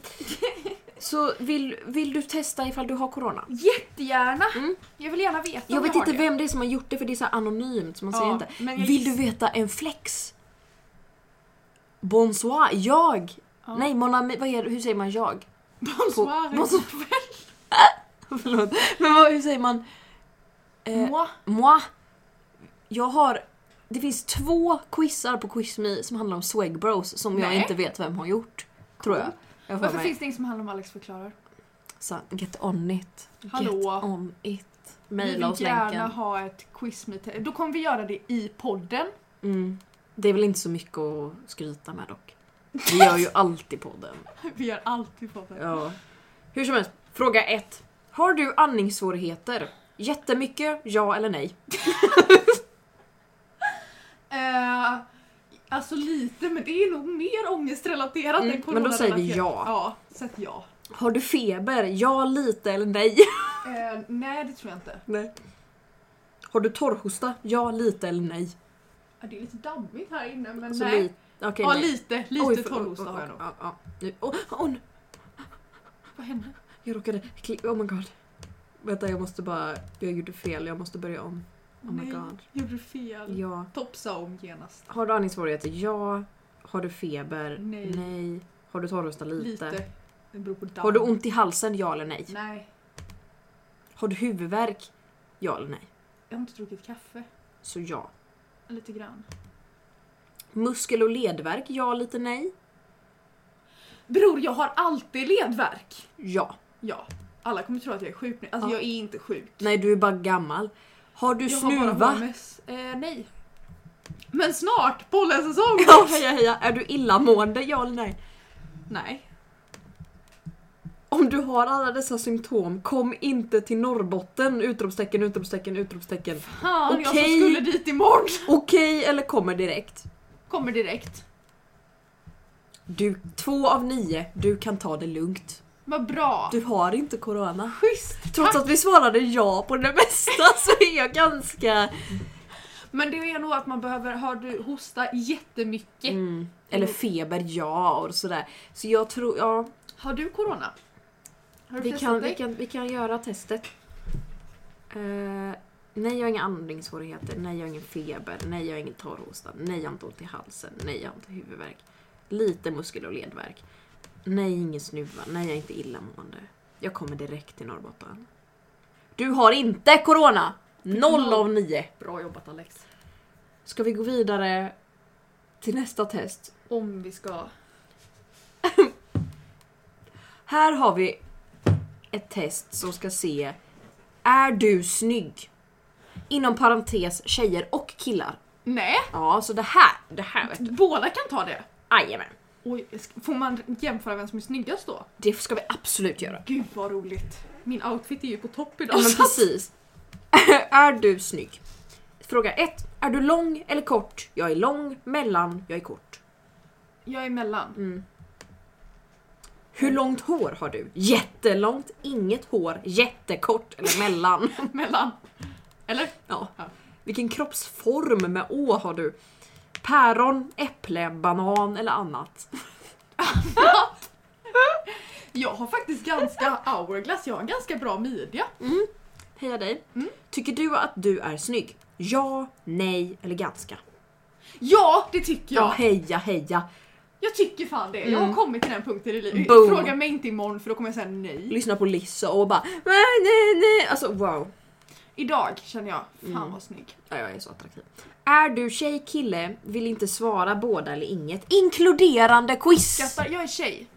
S1: Så vill, vill du testa ifall du har corona?
S2: Jättegärna!
S1: Mm.
S2: Jag vill gärna veta
S1: Jag
S2: om
S1: vet
S2: har
S1: inte
S2: det.
S1: vem det är som har gjort det för det är så här anonymt så man
S2: Ja,
S1: säger inte.
S2: men jag
S1: Vill
S2: giss-
S1: du veta en flex? Bonsoir, jag!
S2: Ja.
S1: Nej, mon ami, vad är det? hur säger man jag?
S2: Bonsoir.
S1: Bonsoir. Förlåt. Men vad, hur säger man? Eh,
S2: Moi.
S1: moi. Jag har... Det finns två quizar på Quizme som handlar om Swag Bros som jag
S2: Nej.
S1: inte vet vem har gjort. Tror jag. jag har för
S2: Varför
S1: mig.
S2: finns det inget som handlar om Alex förklarar?
S1: Så get on it.
S2: Hallå.
S1: Get on it.
S2: Vi vill
S1: Maila oss
S2: gärna
S1: länken.
S2: ha ett quiz med Då kommer vi göra det i podden.
S1: Mm. Det är väl inte så mycket att skryta med dock. Vi gör ju alltid podden.
S2: Vi gör alltid podden.
S1: Ja. Hur som helst, fråga ett. Har du andningssvårigheter? Jättemycket, ja eller nej?
S2: Eh, alltså lite, men det är nog mer ångestrelaterat
S1: Mm,
S2: än
S1: men då säger vi
S2: coronarelaterat.
S1: ja.
S2: Ja, sätt ja.
S1: Har du feber? Ja, lite eller nej?
S2: Eh, nej, det tror jag inte.
S1: nej. Har du torrhosta? Ja, lite eller nej?
S2: Ja, Det är lite dammigt här inne, men
S1: Så
S2: nej.
S1: li- okej,
S2: ja,
S1: Alltså, nej.
S2: lite.
S1: Oj,
S2: Lite
S1: för- oh,
S2: torrhosta har
S1: oj,
S2: jag nog.
S1: oj, ja, ja. Nu- Åh, åh, nu-
S2: Vad hände?
S1: jag råkade klicka, oh my god. Vänta, jag måste bara... Jag gjorde fel, jag måste börja om. Oh my
S2: nej,
S1: god.
S2: gjorde du fel?
S1: Ja.
S2: Topsa om genast.
S1: Har du andningssvårigheter? Ja. Har du feber?
S2: Nej.
S1: Har du torrhosta? Lite.
S2: Lite. Det beror på damm.
S1: Har du ont i halsen? Ja eller nej?
S2: Nej,
S1: Har du huvudvärk? Ja eller nej?
S2: jag har inte druckit kaffe.
S1: Så ja.
S2: Lite grann.
S1: Muskel och ledvärk? Ja lite nej?
S2: Bror, jag har alltid ledvärk.
S1: Ja.
S2: Ja, alla kommer tro att jag är sjuk nu. Alltså
S1: Ja.
S2: jag är inte sjuk.
S1: Nej du är bara gammal. Har du
S2: jag har bara
S1: snuva?
S2: HMS. Eh, nej. Men snart! Pollensäsong!
S1: Ja heja heja. Är du illamående? Ja eller nej?
S2: Nej.
S1: Om du har alla dessa symptom, kom inte till Norrbotten! Utropstecken, utropstecken, utropstecken.
S2: Han, jag som
S1: Okej.
S2: skulle dit imorgon
S1: Okej eller kommer direkt?
S2: kommer direkt.
S1: Du, två av nio, du kan ta det lugnt.
S2: Vad bra.
S1: Du har inte corona.
S2: Schysst!
S1: Trots att vi svarade ja på det mesta så är jag ganska...
S2: Men det är nog att man behöver, har du hosta jättemycket.
S1: Mm. Eller feber, ja och sådär. Så jag tror, ja.
S2: Har du corona? Har du
S1: Vi
S2: testat
S1: kan,
S2: dig?
S1: vi kan, vi kan göra testet. Eh, nej, jag har inga andningssvårigheter. Nej, jag har ingen feber. Nej, jag har ingen torrhosta. Nej, jag har inte ont i halsen. Nej, jag har inte huvudvärk. Lite muskel och ledvärk. Nej, ingen snuva. Nej, jag är inte illamående. Jag kommer direkt till Norrbotten. Du har inte corona! Noll av nio.
S2: Bra jobbat Alex.
S1: Ska vi gå vidare till nästa test?
S2: Om vi ska...
S1: Här har vi ett test som ska se Är du snygg? Inom parentes tjejer och killar.
S2: Nej,
S1: Ja, så det här, det här vet du.
S2: båda kan ta det.
S1: Jajamän.
S2: Oj, sk- får man jämföra vem som är snyggast då?
S1: Det ska vi absolut göra.
S2: Gud vad roligt. Min outfit är ju på topp idag.
S1: Ja men precis. är du snygg? Fråga 1. Är du lång eller kort? Jag är lång, mellan, jag är kort.
S2: Jag är mellan.
S1: Hur långt hår har du? Jättelångt, inget hår, jättekort eller mellan.
S2: Mellan. Eller?
S1: Ja.
S2: Ja.
S1: Vilken kroppsform med å har du? Päron, äpple, banan eller annat.
S2: Jag har faktiskt ganska hourglass, jag har ganska bra midja.
S1: Heja dig. Tycker du att du är snygg? Ja, nej eller ganska.
S2: Ja, det tycker jag.
S1: Ja, heja heja.
S2: Jag tycker fan det. Jag har kommit till den punkten i livet.
S1: Boom.
S2: Fråga mig inte imorgon för då kommer jag säga nej.
S1: Lyssna på Lissa och bara nej, nej, nej. Alltså wow.
S2: Idag känner jag, fan
S1: Mm.
S2: vad snygg.
S1: Ja, jag är så attraktiv. Är du tjej, kille, vill inte svara båda eller inget. Inkluderande quiz!
S2: Skrattar, jag är tjej.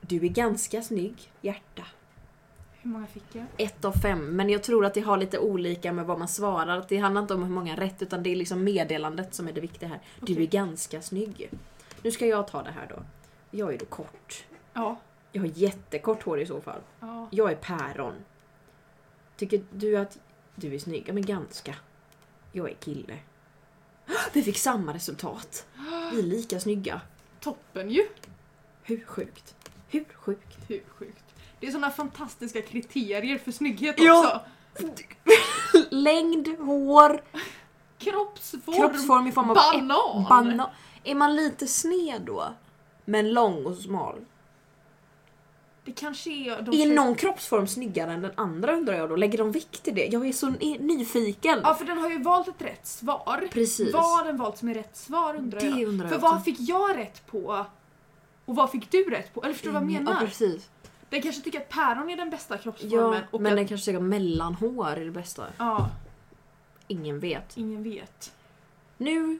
S1: Du är ganska snygg, hjärta.
S2: Hur många fick jag?
S1: Ett av fem, men jag tror att det har lite olika med vad man svarar. Att Det handlar inte om hur många rätt, utan det är liksom meddelandet som är det viktiga här. Du
S2: Okej.
S1: är ganska snygg. Nu ska jag ta det här då. Jag är då kort.
S2: Ja.
S1: Jag har jättekort hår i så fall.
S2: ja.
S1: Jag är päron. Tycker du att du är snygg? Ja men ganska. Jag är kille. Vi fick samma resultat. Vi är lika snygga.
S2: Toppen ju.
S1: Hur sjukt? Hur sjukt?
S2: Hur sjukt. Det är såna fantastiska kriterier för snygghet
S1: Ja.
S2: också.
S1: Längd, hår,
S2: Kroppsform.
S1: kroppsform i form av
S2: Banan.
S1: äpp- banan. Är man lite sned då? Men lång och smal.
S2: Det kanske är... De
S1: Är någon kroppsform snyggare än den andra undrar jag då? Lägger de vikt till det? Jag är så ny- nyfiken.
S2: Ja för den har ju valt ett rätt svar.
S1: Precis.
S2: Vad har den valt som är rätt svar undrar
S1: Det
S2: jag.
S1: undrar
S2: för
S1: jag också.
S2: vad fick jag rätt på? Och vad fick du rätt på? Eller förstår du vad jag
S1: Ja
S2: menar?
S1: Mm, precis.
S2: Den kanske tycker att päron är den bästa kroppsformen.
S1: Ja,
S2: och
S1: men
S2: att,
S1: den kanske säger mellanhår är det bästa.
S2: ja,
S1: Ingen vet.
S2: ingen vet.
S1: Nu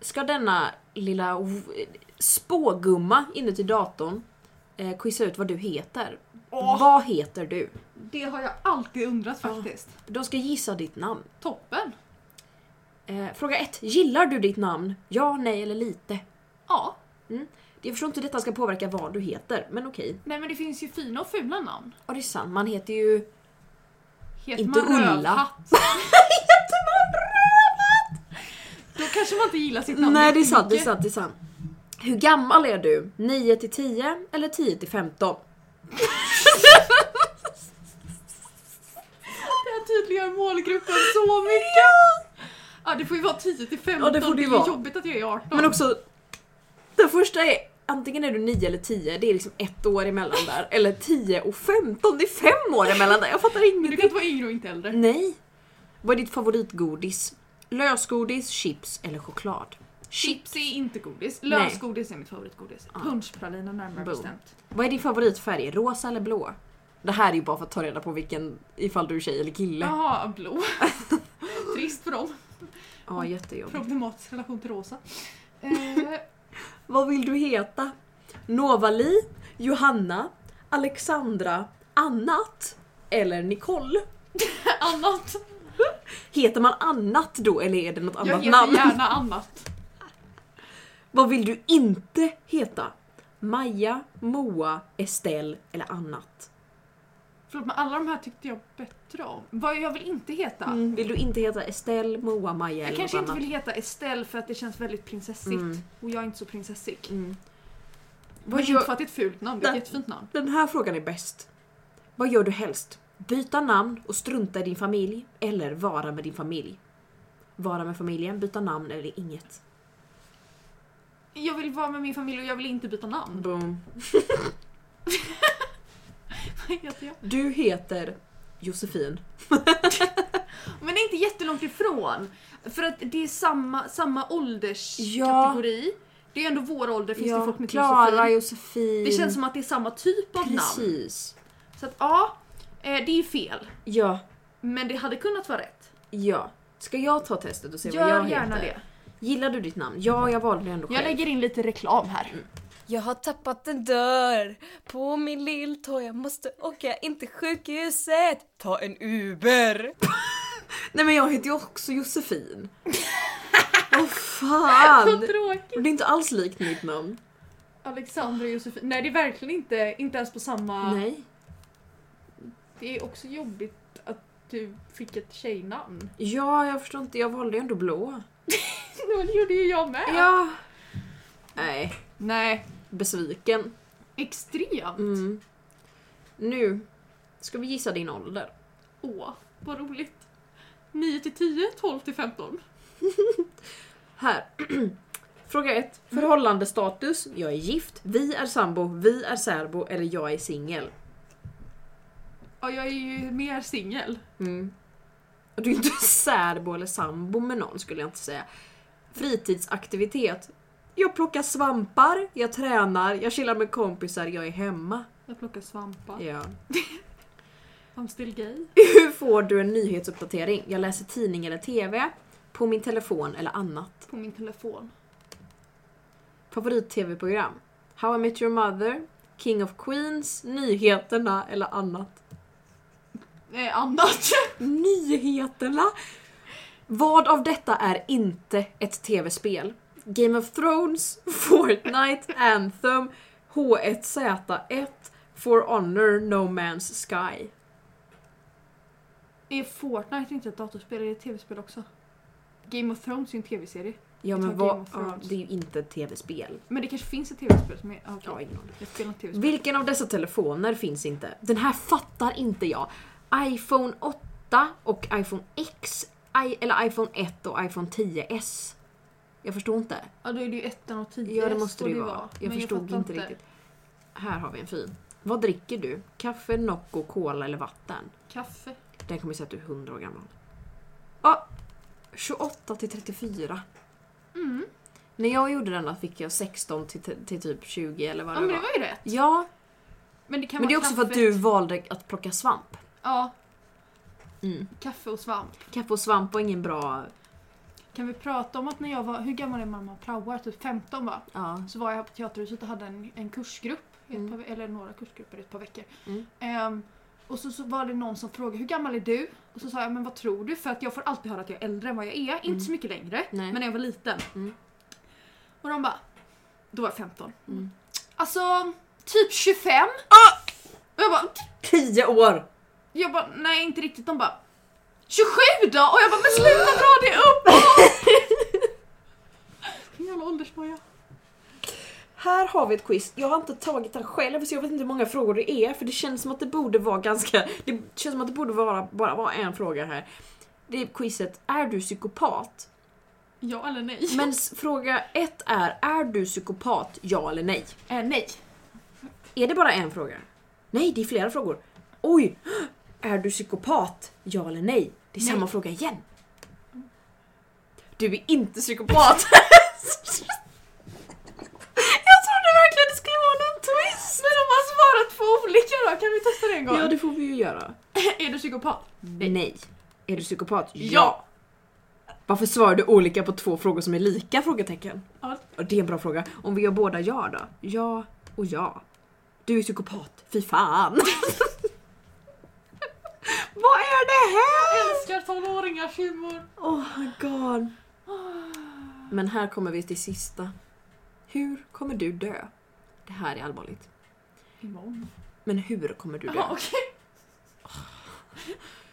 S1: ska denna lilla o- spågumma inuti datorn eh, quizza ut vad du heter.
S2: Åh,
S1: Vad heter du?
S2: det har jag alltid undrat faktiskt.
S1: De ska gissa ditt namn.
S2: Toppen!
S1: Eh, fråga 1. Gillar du ditt namn? Ja, nej eller lite?
S2: Ja.
S1: Jag förstår inte hur detta ska påverka vad du heter, men okej.
S2: Nej men det finns ju fina och fula namn.
S1: Ja, det är sant. Man heter ju...
S2: Heter
S1: Inte
S2: man
S1: Ulla.
S2: Rövhatt då kanske man inte gillar sitt namn
S1: Nej, det är sant, det är
S2: jättemycket.
S1: sant, det är sant. Hur gammal är du? 9 till 10 eller 10 till 15?
S2: Det här tydliggör målgruppen så mycket! Ja! det får ju vara 10 till 15,
S1: Ja, det får det ju
S2: är
S1: vara.
S2: jobbigt att jag är 18.
S1: Men också, den första är antingen är du 9 eller 10, det är liksom ett år emellan där. Eller 10 och 15, det är fem år emellan där. Jag fattar
S2: Men du
S1: ingenting.
S2: kan inte vara yngre och inte äldre.
S1: Nej. Vad är ditt favoritgodis? Lösgodis, chips eller choklad?
S2: Chips är inte godis.
S1: Nej.
S2: Lösgodis är mitt favoritgodis. Punschpraliner
S1: Boom.
S2: närmare bestämt.
S1: Vad är din favoritfärg? Rosa eller blå? Det här är ju bara för att ta reda på vilken, ifall du är tjej eller kille. Ja,
S2: Jaha, blå. Trist för dem.
S1: jättejobbigt.
S2: Problematisk relation till rosa. Eh,
S1: Vad vill du heta? Novali, Johanna, Alexandra, Annat eller Nicole?
S2: annat.
S1: Heter man annat då eller är det något
S2: Jag
S1: annat
S2: heter
S1: namn?
S2: gärna annat.
S1: Vad vill du inte heta? Maja, Moa, Estelle eller annat?
S2: Förlåt men alla de här tyckte jag bättre om. Vad jag vill inte heta?
S1: Mm. Vill du inte heta Estelle, Moa, Maja
S2: Jag
S1: eller
S2: kanske
S1: något
S2: inte
S1: annat?
S2: vill heta Estelle för att det känns väldigt prinsessigt.
S1: Mm.
S2: Och jag är inte så prinsessig.
S1: Mm.
S2: Men
S1: Vad
S2: inte
S1: gör...
S2: för att det är ett fult namn, det är ett
S1: Nej.
S2: jättefint namn.
S1: Den här frågan är bäst. Vad gör du helst? Byta namn och strunta i din familj eller vara med din familj? Vara med familjen, byta namn eller inget.
S2: Jag vill vara med min familj och jag vill inte byta namn.
S1: Boom. Mm.
S2: Vad heter jag?
S1: Du heter Josefin.
S2: Men det är inte jättelångt ifrån. För att det är samma, samma ålderskategori. Det är ändå vår ålder, finns det folk med
S1: Klara,
S2: Josefin?
S1: Josefin.
S2: Det känns som att det är samma typ av namn.
S1: Precis.
S2: Så att ja, eh, det är fel.
S1: Ja,
S2: Men det hade kunnat vara rätt.
S1: ja. Ska jag ta testet och se
S2: Gör
S1: vad jag
S2: gärna
S1: heter?
S2: det.
S1: Gillar du ditt namn? Ja, Mm. jag valde det ändå själv.
S2: Jag lägger in lite reklam här.
S4: Jag har tappat en dörr på min lilltå. Jag måste åka in till sjukhuset. Ta en Uber.
S1: Nej men jag heter ju också Josefin. Åh fan!
S2: tråkigt.
S1: Och Det är inte alls likt mitt namn.
S2: Alexandra och Josefin. Nej det är verkligen inte, inte ens på samma...
S1: Nej.
S2: Det är också jobbigt att du fick ett tjejnamn.
S1: Ja, jag förstår inte. Jag valde ju ändå blå.
S2: Men det gjorde ju jag med.
S1: Ja. Nej,
S2: Nej.
S1: besviken.
S2: Extremt.
S1: Mm. Nu ska vi gissa din ålder.
S2: Åh, vad roligt. 9 till 10, 12 till 15.
S1: Här. Fråga 1. Förhållandestatus. Jag är gift. Vi är sambo. Vi är särbo. Eller jag är singel.
S2: Ja, jag är ju mer singel.
S1: Mm. Och Du är inte särbo eller sambo med någon skulle jag inte säga. Fritidsaktivitet. Jag plockar svampar, jag tränar, jag chillar med kompisar, jag är hemma.
S2: Jag plockar svampar.
S1: Ja.
S2: I'm still gay.
S1: Hur får du en nyhetsuppdatering? Jag läser tidning eller TV, på min telefon eller annat.
S2: På min telefon.
S1: Favorit-TV-program? How I Met Your Mother, King of Queens, Nyheterna eller annat.
S2: Nej, annat.
S1: Nyheterna? Vad av detta är inte ett TV-spel? Game of Thrones, Fortnite, Anthem, H1Z1, For Honor, No Man's Sky.
S2: Är Fortnite inte ett datorspel? Är det ett tv-spel också? Game of Thrones är ju en tv-serie.
S1: Ja
S2: Jag
S1: men
S2: tar Game
S1: vad,
S2: of
S1: ja,
S2: Thrones.
S1: det är ju inte ett TV-spel.
S2: Men det kanske finns ett tv-spel som är... Ah,
S1: Ja,
S2: okej.
S1: ingen aning.
S2: Jag spelar inte tv-spel.
S1: Vilken av dessa telefoner finns inte? Den här fattar inte jag. iPhone 8 och iPhone X, i, eller iPhone 1 och iPhone 10s. Jag förstår inte.
S2: Ja, då är det ju ettan och tio.
S1: Ja, det måste
S2: står
S1: det ju vara. Jag
S2: Men
S1: förstod
S2: fattar
S1: inte riktigt. Här har vi en fin. Vad dricker du? Kaffe, Nocco, cola eller vatten?
S2: Kaffe.
S1: Den kommer säga att du är 100 år gammal. Ja, 28 till 34.
S2: Mm.
S1: När jag gjorde denna fick jag 16 till, till typ 20 eller
S2: Ja,
S1: vad det
S2: men det
S1: var.
S2: var ju rätt.
S1: Ja,
S2: Men det kan
S1: men det är
S2: vara
S1: också för att
S2: kaffe.
S1: du valde att plocka svamp.
S2: Ja,
S1: Mm.
S2: kaffe och svamp.
S1: Kaffe och svamp var ingen bra...
S2: Kan vi prata om att när jag var... Hur gammal är mamma och praoar? Typ 15 va?
S1: Ja.
S2: Så var jag på Teaterhuset och hade en, en kursgrupp, i ett
S1: Mm.
S2: par, eller några kursgrupper i ett par veckor.
S1: Mm.
S2: Ehm, och så, så var det någon som frågade hur gammal är du? Och så sa jag men vad tror du? För att jag får alltid höra att jag är äldre än vad jag är.
S1: Mm.
S2: Inte så mycket längre,
S1: Nej.
S2: men när jag var liten.
S1: Mm.
S2: Och de bara, då var jag 15.
S1: Mm. Ah!
S2: Alltså typ 25. Och jag bara,
S1: Tio år!
S2: jag bara nej inte riktigt. De bara 27 då? Och jag bara men sluta dra det uppåt! Vilken jävla åldersnoja.
S1: Här har vi ett quiz. Jag har inte tagit den själv så jag vet inte hur många frågor det är för det känns som att det borde vara ganska... Det känns som att det borde vara, bara vara en fråga här. Det är quizet Är du psykopat?
S2: Ja eller nej?
S1: Men s- fråga ett är Är du psykopat? Ja eller nej?
S2: Eh, nej.
S1: Är det bara en fråga? Nej, det är flera frågor. Oj! Är du psykopat? Ja eller nej? Det är
S2: Nej.
S1: samma fråga igen. Du är inte psykopat!
S2: Jag trodde verkligen det skulle vara någon twist! Men de har svarat på Alltså, olika då, kan vi testa det en gång?
S1: ja, det får vi ju göra.
S2: Är du psykopat?
S1: Nej. Är du psykopat?
S2: Ja.
S1: Varför svarar du olika på två frågor som är lika? Frågetecken.
S2: Ja.
S1: Och Det är en bra fråga. Om vi gör båda ja då? Ja och ja. Du är psykopat. Fy fan. Vad är det här?
S2: Älskar tonåringars humor!
S1: Oh my god. Men här kommer vi till sista. Hur kommer du dö? Det här är allvarligt.
S2: Imorgon.
S1: Men hur kommer du dö?
S2: Jaha okej.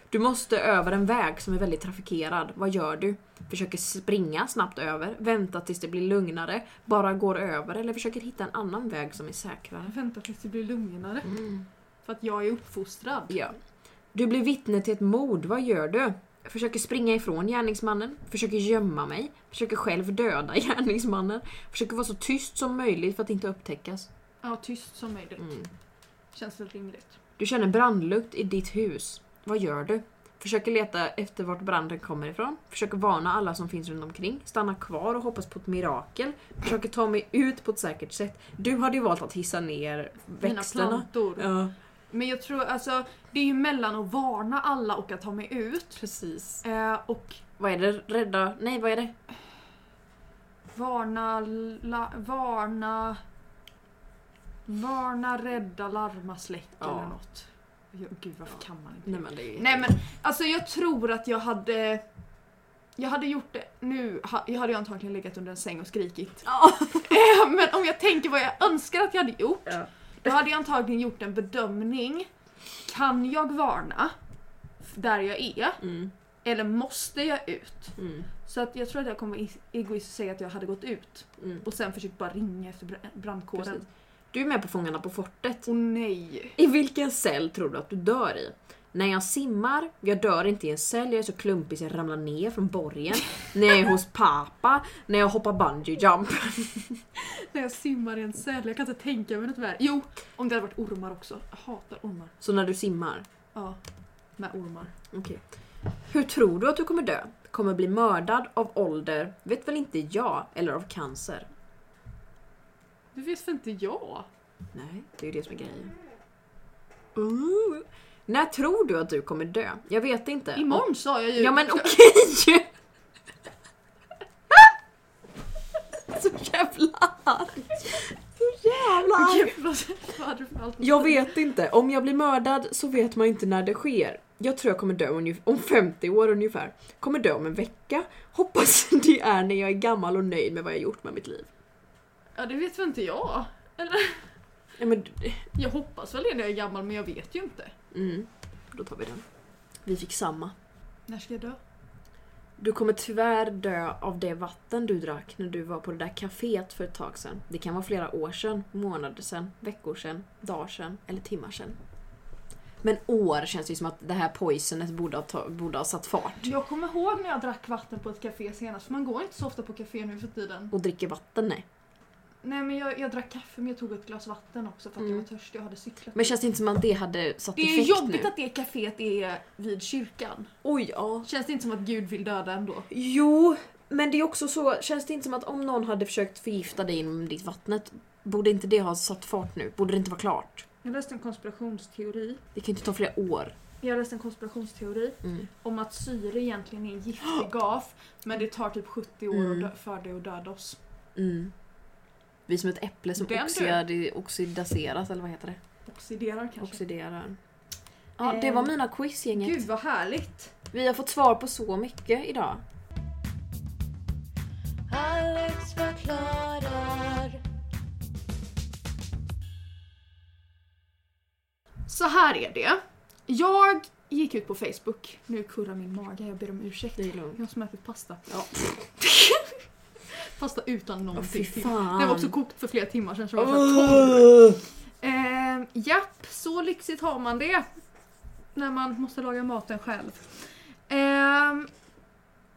S1: Du måste över en väg som är väldigt trafikerad. Vad gör du? Försöker springa snabbt över, vänta tills det blir lugnare, bara går över eller försöker hitta en annan väg som är säkrare.
S2: Vänta tills det blir lugnare. För att jag är uppfostrad.
S1: Ja. Du blir vittne till ett mord, vad gör du? Försöker springa ifrån gärningsmannen, försöker gömma mig, försöker själv döda gärningsmannen, försöker vara så tyst som möjligt för att inte upptäckas.
S2: Ja, tyst som möjligt.
S1: Mm.
S2: Känns väl rimligt.
S1: Du känner brandlukt i ditt hus. Vad gör du? Försöker leta efter vart branden kommer ifrån. Försöker varna alla som finns runt omkring. Stanna kvar och hoppas på ett mirakel. Försöker ta mig ut på ett säkert sätt. Du hade ju valt att hissa ner
S2: Mina
S1: växterna.
S2: plantor.
S1: Ja,
S2: Men jag tror alltså, det är ju mellan att varna alla och att ta mig ut.
S1: precis.
S2: Eh, och
S1: Vad är det? Rädda... Nej, vad är det?
S2: varna... La, varna... Varna, rädda, larma, släck
S1: Ja.
S2: eller något. Ja, Gud varför kan man inte
S1: Nej men det är...
S2: Nej men alltså jag tror att jag hade jag hade gjort det nu, ha- jag hade ju antagligen legat under en säng och skrikit.
S1: Ja.
S2: Eh, Men om jag tänker vad jag önskar att jag hade gjort,
S1: Ja.
S2: då hade jag antagligen gjort en bedömning. Kan jag varna f- där jag är?
S1: Mm,
S2: Eller måste jag ut?
S1: mm,
S2: Så att jag tror att jag kommer vara egoistisk och säga att jag hade gått ut
S1: mm.
S2: och sen försökt bara ringa efter bra- brandkåren.
S1: Precis. Du är med på Fångarna på fortet.
S2: Och nej.
S1: I vilken cell tror du att du dör i? När jag simmar, jag dör inte i en cell, jag är så klumpig så jag ramlar ner från borgen. när jag är hos pappa, när jag hoppar bungee jump.
S2: När jag simmar i en cell, jag kan inte tänka mig något värre. Jo, om det hade varit ormar också. Jag hatar ormar.
S1: Så när du simmar,
S2: Ja, med ormar.
S1: Okej. Hur tror du att du kommer dö? Kommer bli mördad av ålder, vet väl inte jag, eller av cancer?
S2: Det vet väl inte jag?
S1: Nej, det är ju det som är grejen. Ooh. När tror du att du kommer dö? Jag vet inte.
S2: Imorgon sa jag ju.
S1: Ja men okej! Så jävla arg! Så jävla arg!
S2: Gud, vad, vad hade du för alternativ?
S1: Jag vet inte, om jag blir mördad så vet man inte när det sker. Jag tror jag kommer dö ungef- om 50 år ungefär. Kommer dö om en vecka. Hoppas det är när jag är gammal och nöjd med vad jag gjort med mitt liv.
S2: Ja, det vet väl inte jag.
S1: Ja, men,
S2: Jag hoppas väl det när jag är gammal, men jag vet ju inte.
S1: mm, då tar vi den. Vi fick samma.
S2: När ska jag dö?
S1: Du kommer tyvärr dö av det vatten du drack när du var på det där kaféet för ett tag sedan. Det kan vara flera år sedan, månader sedan, veckor sedan, dagar sedan eller timmar sedan. Men år känns det ju som att det här poisonet borde ha, ta- borde ha satt fart.
S2: Jag kommer ihåg när jag drack vatten på ett café senast, för man går inte så ofta på café nu för tiden.
S1: Och dricker vatten, nej.
S2: Nej men jag, jag drack kaffe men jag tog ett glas vatten också för att
S1: Mm.
S2: jag var törstig och hade cyklat.
S1: Men känns det inte som att det hade satt
S2: det är ju
S1: effekt
S2: jobbigt
S1: nu?
S2: att det caféet är vid kyrkan.
S1: Oj, ja.
S2: Känns det inte som att Gud vill döda ändå?
S1: Jo, men det är också så, känns det inte som att om någon hade försökt förgifta dig inom ditt vattnet, borde inte det ha satt fart nu? Borde det inte vara klart?
S2: Jag läste en konspirationsteori.
S1: Det kan ju inte ta flera år.
S2: Jag läste en konspirationsteori
S1: Mm.
S2: om att syre egentligen är en giftig gas men det tar typ 70 år
S1: Mm.
S2: att dö- för det att döda oss.
S1: Mm. Vi som ett äpple som
S2: Den du.
S1: oxidade- oxidaseras, eller vad heter det?
S2: Oxiderar kanske. Ehm,
S1: Oxiderar. Ja, det var mina quiz gänget.
S2: Gud vad härligt!
S1: Vi har fått svar på så mycket idag.
S3: Alex förklarar.
S2: Så här är det. Jag gick ut på Facebook. Nu kurrar min mage, jag ber om ursäkt.
S1: Det är lugnt.
S2: Jag som ätit pasta.
S1: Ja.
S2: pasta utan
S1: Åh,
S2: någonting
S1: fy
S2: till.
S1: fan.
S2: Den var också kokt för flera timmar sedan så den var så torr.
S1: Åh!
S2: Ehm, japp, så lyxigt har man det. När man måste laga maten själv. Ehm,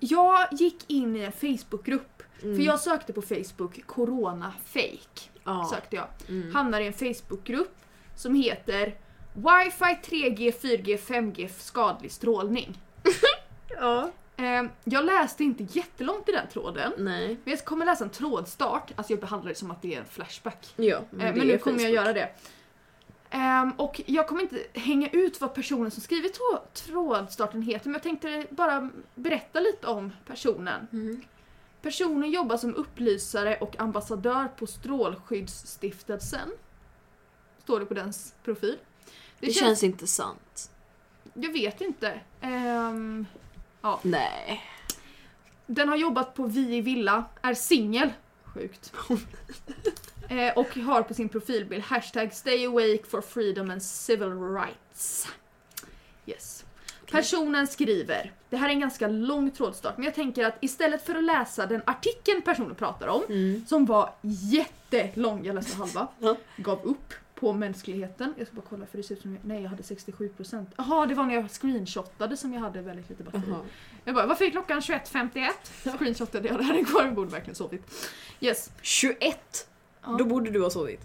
S2: jag gick in i en Facebookgrupp.
S1: Mm.
S2: För jag sökte på Facebook corona fake.
S1: ja.
S2: Sökte jag.
S1: mm.
S2: Hamnar i en Facebookgrupp som heter Wifi 3G 4G 5G skadlig strålning.
S1: ja.
S2: Ehm, jag läste inte jättelångt i den tråden.
S1: Nej.
S2: Men jag kommer läsa en trådstart, alltså jag behandlar det som att det är en flashback.
S1: Ja,
S2: Eh,
S1: det
S2: men nu
S1: är
S2: kommer jag
S1: Facebook.
S2: göra det. Ehm, och jag kommer inte hänga ut vad personen som skrivit trå- trådstarten heter men jag tänkte bara berätta lite om personen.
S1: Mm.
S2: Personen jobbar som upplysare och ambassadör på Strålskyddsstiftelsen. Står det på dens profil.
S1: Det,
S2: Det,
S1: känns...
S2: känns,
S1: inte sant.
S2: Jag vet inte. Ehm,
S1: Nej.
S2: den har jobbat på Vi i Villa, är singel. Sjukt. eh, och har på sin profilbild hashtag stay awake for freedom and civil rights. Yes. Personen skriver, det här är en ganska lång trådstart men jag tänker att istället för att läsa den artikeln personen pratar om
S1: Mm.
S2: som var jättelång, jag läste halva,
S1: Ja.
S2: gav upp på mänskligheten. Jag ska bara kolla för det ser ut som jag, nej jag hade 67%. Jaha det var när jag screenshotade som jag hade väldigt lite batteri.
S1: Jaha.
S2: Jag bara, varför är klockan 21.51? Screenshotade jag det här igår, jag borde verkligen sovit. Yes.
S1: 21!
S2: Ja.
S1: Då borde du ha sovit.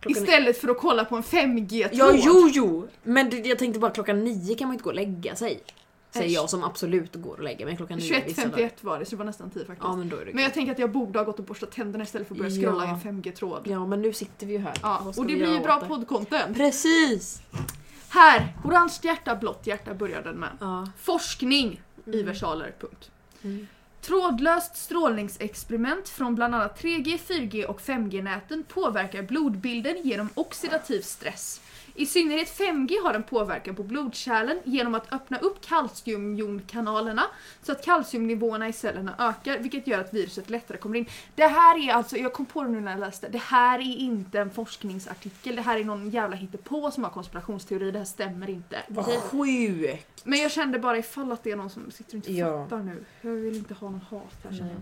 S1: Klockan är...
S2: Istället för att kolla på en 5G-tråd.
S1: Ja, jo, jo! Men det, jag tänkte bara klockan nio kan man inte gå och lägga sig. Säger
S2: Äsch.
S1: jag som absolut går och lägger mig klockan nio vissa dagar.
S2: 21.51 var det, så det var nästan 10 faktiskt.
S1: Ja, men då är det
S2: Men jag tänker att jag borde ha gått och borstat tänderna istället för att börja
S1: Ja.
S2: scrolla i en 5G-tråd.
S1: Ja, men nu sitter vi ju här.
S2: Ja,
S1: Vad ska
S2: och det
S1: vi
S2: blir
S1: göra
S2: ju
S1: åt
S2: bra
S1: det?
S2: poddcontent.
S1: Precis!
S2: Här! Orange hjärta, blått hjärta börjar den med.
S1: Ja.
S2: Forskning i versaler. Punkt.
S1: Mm.
S2: Trådlöst strålningsexperiment från bland annat 3G, 4G och 5G-näten påverkar blodbilden genom oxidativ stress. I synnerhet 5G har en påverkan på blodkärlen genom att öppna upp kalciumjonkanalerna så att kalciumnivåerna i cellerna ökar vilket gör att viruset lättare kommer in. Det här är alltså, jag kom på det nu när jag läste, det här är inte en forskningsartikel, det här är någon jävla hittepå som har konspirationsteori, det här stämmer inte.
S5: Vad sjukt!
S2: Men jag kände bara ifall att det är någon som sitter och inte
S5: Ja.
S2: fattar nu. Jag vill inte ha någon hat här känner jag.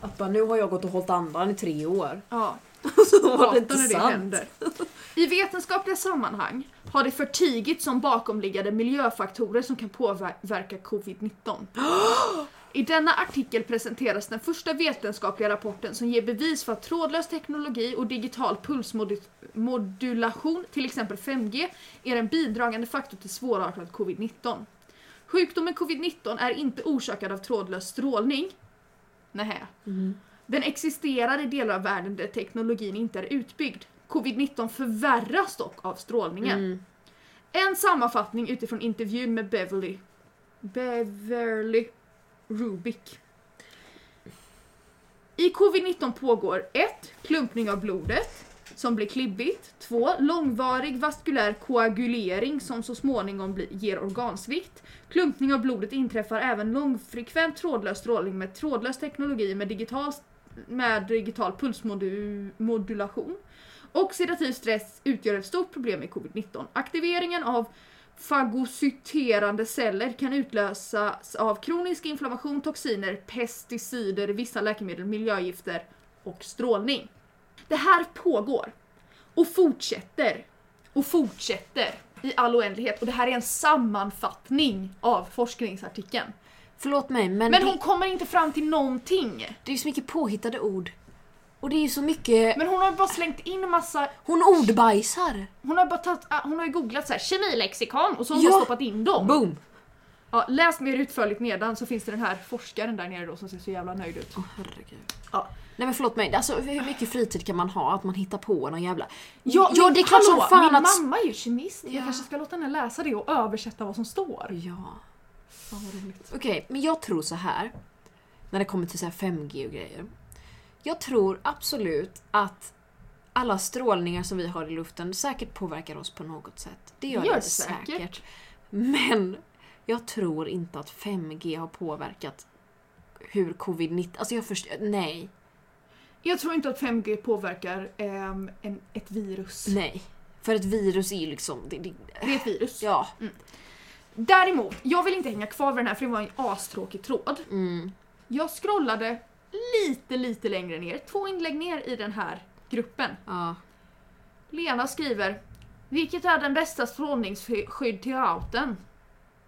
S1: Att bara, nu har jag gått och hållit andan i tre år.
S2: Ja.
S1: Så var det
S2: hatar
S1: inte
S2: när det
S1: sant.
S2: händer. I vetenskapliga sammanhang har det förtigits som bakomliggande miljöfaktorer som kan påverka covid-19. I denna artikel presenteras den första vetenskapliga rapporten som ger bevis för att trådlös teknologi och digital pulsmodulation, till exempel 5G, är en bidragande faktor till svårartad covid-19. Sjukdomen covid-19 är inte orsakad av trådlös strålning. Nähä. Den existerar i delar av världen där teknologin inte är utbyggd. Covid-19 förvärras dock av strålningen.
S1: Mm.
S2: En sammanfattning utifrån intervjun med Beverly. Beverly Rubik. I covid-19 pågår 1. Klumpning av blodet som blir klibbigt. 2. Långvarig vaskulär koagulering som så småningom blir, ger organsvikt. Klumpning av blodet inträffar även långfrekvent trådlös strålning med trådlös teknologi med digital, med digital pulsmodulation. Oxidativ stress utgör ett stort problem i covid-19. Aktiveringen av fagocyterande celler kan utlösas av kronisk inflammation, toxiner, pesticider, vissa läkemedel, miljögifter och strålning. Det här pågår och fortsätter och fortsätter i all oändlighet och det här är en sammanfattning av forskningsartikeln.
S1: Förlåt mig men,
S2: Men
S1: det,
S2: hon kommer inte fram till någonting.
S1: det är ju så mycket påhittade ord. Och det är ju så mycket...
S2: Men hon har bara slängt in massa
S1: Hon ordbajsar!
S2: Hon har, bara tagit, ah, hon har ju googlat så här, kemilexikon och så har hon
S1: Ja.
S2: bara stoppat in dem.
S1: Boom!
S2: Ja, läs mer utförligt nedan så finns det den här forskaren där nere då som ser så jävla nöjd ut.
S1: Herregud.
S2: Ja.
S1: Nej men förlåt mig, alltså, hur mycket fritid kan man ha att man hittar på någon jävla...
S2: Ja,
S1: ja
S2: men
S1: det är klart som
S2: hallå,
S1: fan
S2: min
S1: att...
S2: mamma är ju kemist. Jag kanske ska låta henne läsa det och översätta vad som står.
S1: Ja.
S2: Fan vad roligt.
S1: Okej, men jag tror så här. När det kommer till så här 5G och grejer. Jag tror absolut att alla strålningar som vi har i luften säkert påverkar oss på något sätt. Det gör det,
S2: gör det
S1: säkert.
S2: säkert.
S1: Men jag tror inte att 5G har påverkat hur covid-19... Alltså jag förstår... Nej.
S2: Jag tror inte att 5G påverkar ehm, en, ett virus.
S1: Nej. För ett virus är ju liksom... Det, det,
S2: Det är ett virus.
S1: ja.
S2: Däremot, jag vill inte hänga kvar vid den här för det var en astråkig tråd.
S1: mm.
S2: Jag scrollade lite, lite längre ner, två inlägg ner i den här gruppen.
S1: ja.
S2: Lena skriver Vilket är den bästa strålningsskydd till routern?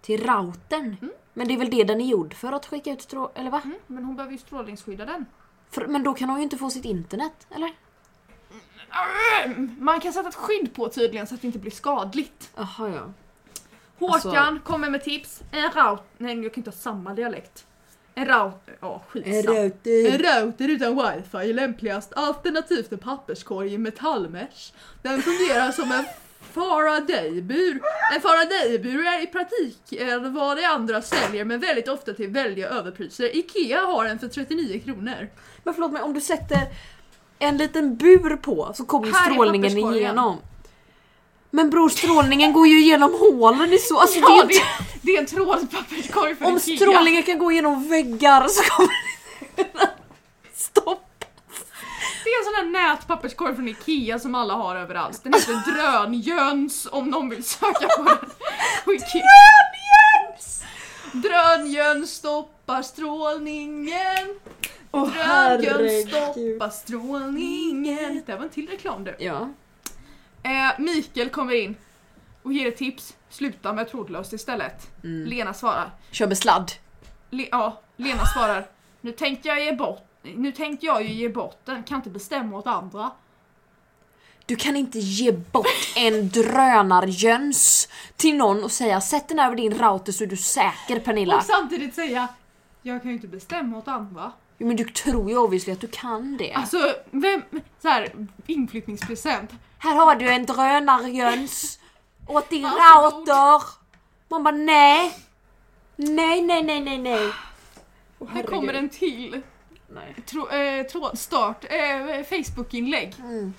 S1: Till routern. Men det är väl det den är gjord för att skicka ut strå... Eller va?
S2: Mm, men hon behöver ju strålningsskydda den.
S1: För, men då kan hon ju inte få sitt internet, eller?
S2: Man kan sätta ett skydd på tydligen så att det inte blir skadligt.
S1: Jaha ja.
S2: Håkan
S1: Alltså-
S2: kommer med tips. En router... Nej, jag kan inte ha samma dialekt. En router... Ja, skitsamma.
S1: Mm.
S2: En router utan wifi är lämpligast alternativt en papperskorg i metallmesh. Den fungerar som en Faraday-bur. En Faraday-bur är i praktiken vad de andra säljer men väldigt ofta till väldiga överpriser. IKEA har en för 39 kronor.
S1: Men förlåt mig, om du sätter en liten bur på så kommer ju
S2: Här är
S1: strålningen
S2: papperskorgen.
S1: igenom. Men bror, strålningen går ju genom hålen i så... Alltså, det är
S2: Ja,
S1: ju
S2: det,
S1: inte-
S2: det är en trådpapperskorg för
S1: om
S2: IKEA.
S1: strålningen kan gå genom väggar så kommer det... Stopp!
S2: Det är en sån där nätpapperskorg från IKEA som alla har överallt. Den heter Drönjöns om någon vill söka på den. på Ikea. Drönjön stoppar strålningen.
S5: Åh,
S2: Drönjön stoppar strålningen. Det här var en till reklam du.
S1: Ja.
S2: Eh, Mikael kommer in och ger ett tips. Sluta med trådlöst istället. Lena svarar.
S1: Kör med sladd.
S2: Le- ja, Lena svarar. Nu tänkte jag ge bort nu tänkte jag ju ge bort den, kan inte bestämma åt andra.
S1: Du kan inte ge bort en drönarjöns till någon och säga sätt den över din router så är du säker Pernilla.
S2: Och samtidigt säga jag kan ju inte bestämma åt andra.
S1: Jo, men du tror ju obviously att du kan det.
S2: Alltså, vem... Så här, inflyttningspresent.
S1: Här har du en drönarjöns åt din
S2: Varsågod.
S1: router. Man bara nej. Nej, nej, nej, nej, nej. Åh,
S2: Här kommer
S1: herregud.
S2: en till
S1: Nej.
S2: tro, eh, trådstart, eh, Facebook-inlägg.
S1: Mm.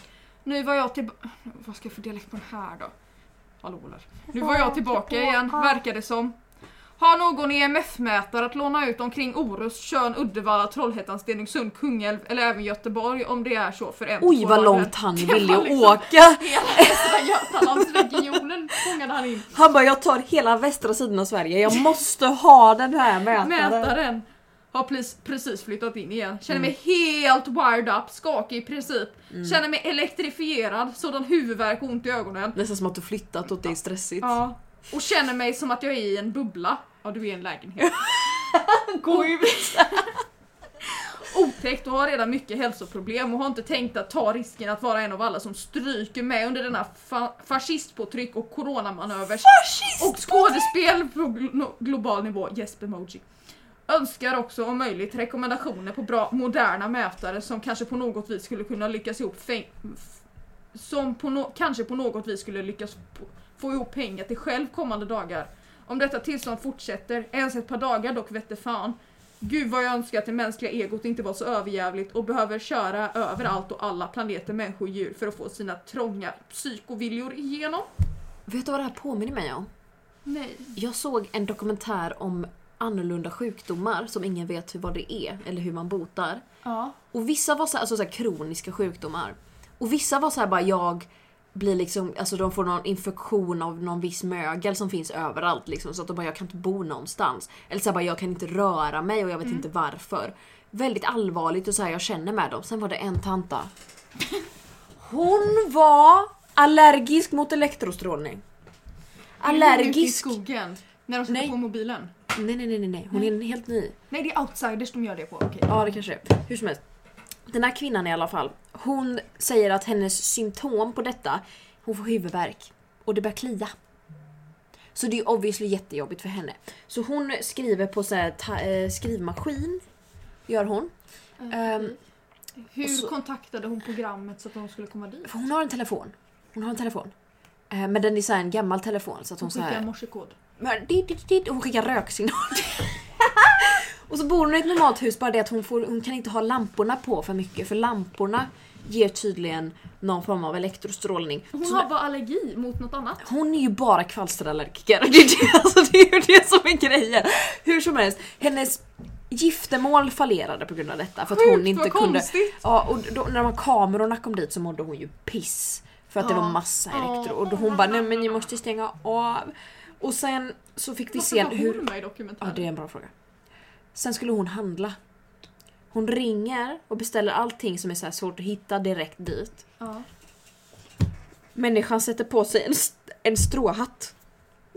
S2: Nu var jag tillbaka... Vad ska jag för dialekt på den här då? Hallå där. Nu var jag tillbaka igen, verkar det som. Har någon EMF-mätare att låna ut omkring Orust, Tjörn, Uddevalla, Trollhättan, Stenungsund, Kungälv eller även Göteborg om det är så för en
S1: Oj
S2: två
S1: vad
S2: månader?
S1: långt han
S2: Det
S1: ville
S2: var liksom-
S1: åka!
S2: Hela Västra Götalandsregionen fångade han in.
S1: Han bara jag tar hela västra sidan av Sverige, jag måste ha den här mätaren.
S2: Mätaren har plis- precis flyttat in igen. Känner mig helt wired up, skakig i princip. Känner mig elektrifierad, sådan huvudvärk och ont i ögonen.
S1: Nästan som att du flyttat och det är stressigt.
S2: Ja. Och känner mig som att jag är i en bubbla. Ja, du är i en lägenhet. Gå ut! Otäckt och har redan mycket hälsoproblem och har inte tänkt att ta risken att vara en av alla som stryker med under denna fa- fascistpåtryck och coronamanövers och skådespel på glo- global nivå. Yes, emoji. Önskar också om möjligt rekommendationer på bra moderna mätare som kanske på något vis skulle kunna lyckas ihop fäng- f- som på no- kanske på något vis skulle lyckas p- få ihop pengar till själv kommande dagar. Om detta tillstånd fortsätter, ens ett par dagar dock vette fan. Gud vad jag önskar att det mänskliga egot inte var så överjävligt och behöver köra över allt och alla planeter, människor, djur för att få sina trånga psykoviljor igenom.
S1: Vet du vad det här påminner mig om?
S2: Nej.
S1: Jag såg en dokumentär om annorlunda sjukdomar som ingen vet hur vad det är eller hur man botar.
S2: Ja.
S1: Och vissa var så här, alltså så här kroniska sjukdomar. Och vissa var så här bara jag blir liksom, alltså de får någon infektion av någon viss mögel som finns överallt liksom så att de bara jag kan inte bo någonstans. Eller så här bara jag kan inte röra mig och jag vet
S2: Mm.
S1: inte varför. Väldigt allvarligt och så här jag känner med dem. Sen var det en tanta. Hon var allergisk mot elektrostrålning.
S2: Ute i
S1: Allergisk.
S2: skogen. När de sätter
S1: Nej.
S2: på mobilen.
S1: Nej nej nej nej, nej. hon är helt ny.
S2: Nej det är outsiders de gör det på. Okej.
S1: Ja det kanske det är. Hur som helst. Den här kvinnan i alla fall, hon säger att hennes symptom på detta, hon får huvudvärk och det börjar klia. Så det är obviously jättejobbigt för henne. Så hon skriver på så här, ta, eh, skrivmaskin, gör hon. Ehm,
S2: Hur
S1: Och så-
S2: kontaktade hon programmet så att de skulle komma dit?
S1: för hon har en telefon. Hon har en telefon. Eh, men den är så här en gammal telefon så att hon,
S2: Hon
S1: så
S2: skickade
S1: här,
S2: morsekod.
S1: Men dit, dit, dit, och hon skickar röksignal. och så bor hon i ett normalt hus, bara det att hon, får, hon kan inte ha lamporna på för mycket för lamporna ger tydligen någon form av elektrostrålning.
S2: Hon
S1: så
S2: har bara allergi mot något annat.
S1: hon är ju bara kvalsterallergiker. Det är, det, alltså, det är ju det som är grejen. Hur som helst, hennes giftermål fallerade på grund av detta. För att hon
S2: Sjukt,
S1: inte
S2: vad
S1: kunde...
S2: konstigt.
S1: Ja, och då, när de här kamerorna kom dit så mådde hon ju piss. För att det
S2: Ja.
S1: var massa
S2: Ja.
S1: elektro. Och då hon bara nej men ni måste ju stänga av. Och sen så fick vi
S2: Varför
S1: se
S2: var hon
S1: hur...
S2: med i
S1: Ja,
S2: dokumentären?
S1: det är en bra fråga. Sen skulle hon handla. Hon ringer och beställer allting som är så här svårt att hitta direkt dit.
S2: Ja.
S1: Människan sätter på sig en, st- en stråhatt.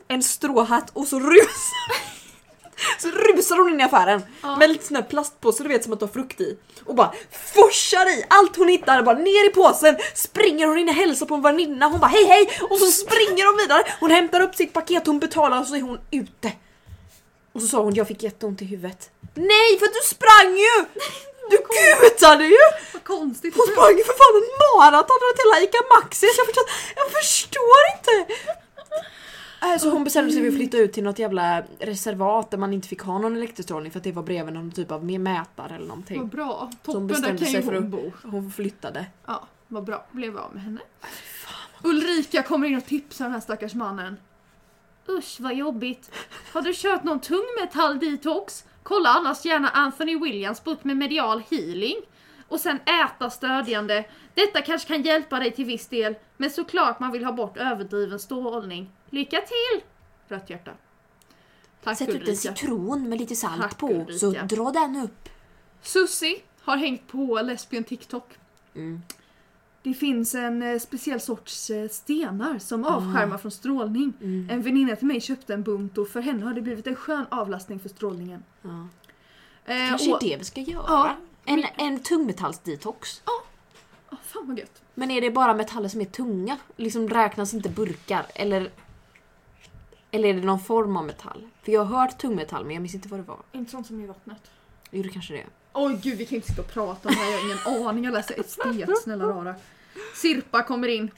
S1: En stråhatt och så rusar, så rusar hon in i affären
S2: Ja.
S1: med en liten sån här plastpåse du vet som att ta frukt i. Och bara forsar i allt hon hittar, bara ner i påsen, springer hon in och hälsar på en väninna, hon bara hej hej! Och så springer hon vidare, hon hämtar upp sitt paket, hon betalar och så är hon ute. Och så sa hon jag fick jätteont i huvudet. Nej för att du sprang ju! Du gutade ju!
S2: Vad konstigt.
S1: Hon sprang ju för fan en maraton runt hela ICA Maxi så jag förstår, jag förstår inte! Äh, Så hon bestämde sig för att flytta ut till något jävla reservat där man inte fick ha någon elektrostrålning för att det var bredvid någon typ av mer mätare eller
S2: Vad
S1: någonting.
S2: bra.
S1: Så hon
S2: Toppen, där
S1: bestämde
S2: kan ju
S1: sig för
S2: hon bo.
S1: att hon flyttade.
S2: Ja, vad bra. Blev av med henne. Ulrika kommer in och tipsar den här stackars mannen. Usch vad jobbigt. Har du kört någon tungmetalldetox? Kolla annars gärna Anthony Williams bok med medial healing. Och sen äta stödjande. Detta kanske kan hjälpa dig till viss del. Men såklart man vill ha bort överdriven strålning. Lycka till! Rött hjärta. Tack
S1: Sätt ut en
S2: Ulrika.
S1: citron med lite salt
S2: Tack,
S1: på
S2: Ulrika.
S1: så dra den upp.
S2: Susie har hängt på lesbian TikTok.
S1: Mm.
S2: Det finns en eh, speciell sorts eh, stenar som avskärmar från strålning.
S1: Ah. Mm.
S2: En väninna till mig köpte en bunt och för henne har det blivit en skön avlastning för strålningen.
S1: Ja.
S2: Eh,
S1: Kanske
S2: och,
S1: är det vi ska göra.
S2: Ja.
S1: En, en tungmetallsdetox.
S2: Åh, Ah, fan vad gött.
S1: Men är det bara metaller som är tunga? Liksom räknas inte burkar? Eller, eller är det någon form av metall? För jag har hört tungmetall men jag minns inte vad det var.
S2: Inte sånt som i vattnet.
S1: Jo det kanske det är.
S2: Oj gud vi kan inte sitta och prata om det här, jag har ingen aning. Jag läser estet snälla rara. Sirpa kommer in.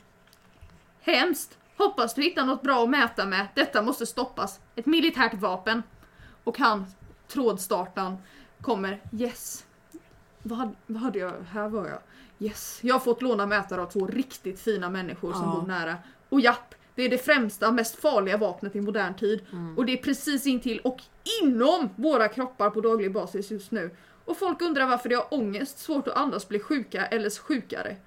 S2: Hemskt! Hoppas du hittar något bra att mäta med. Detta måste stoppas. Ett militärt vapen. Och han, trådstartan. Kommer. Yes. Vad hade, vad hade jag? Här var jag. Yes. Jag har fått låna mätare av två riktigt fina människor som
S1: Ja.
S2: bor nära. Och japp, det är det främsta, mest farliga vapnet i modern tid. Och det är precis intill och inom våra kroppar på daglig basis just nu. Och folk undrar varför de har ångest, svårt att andas, blir sjuka eller sjukare.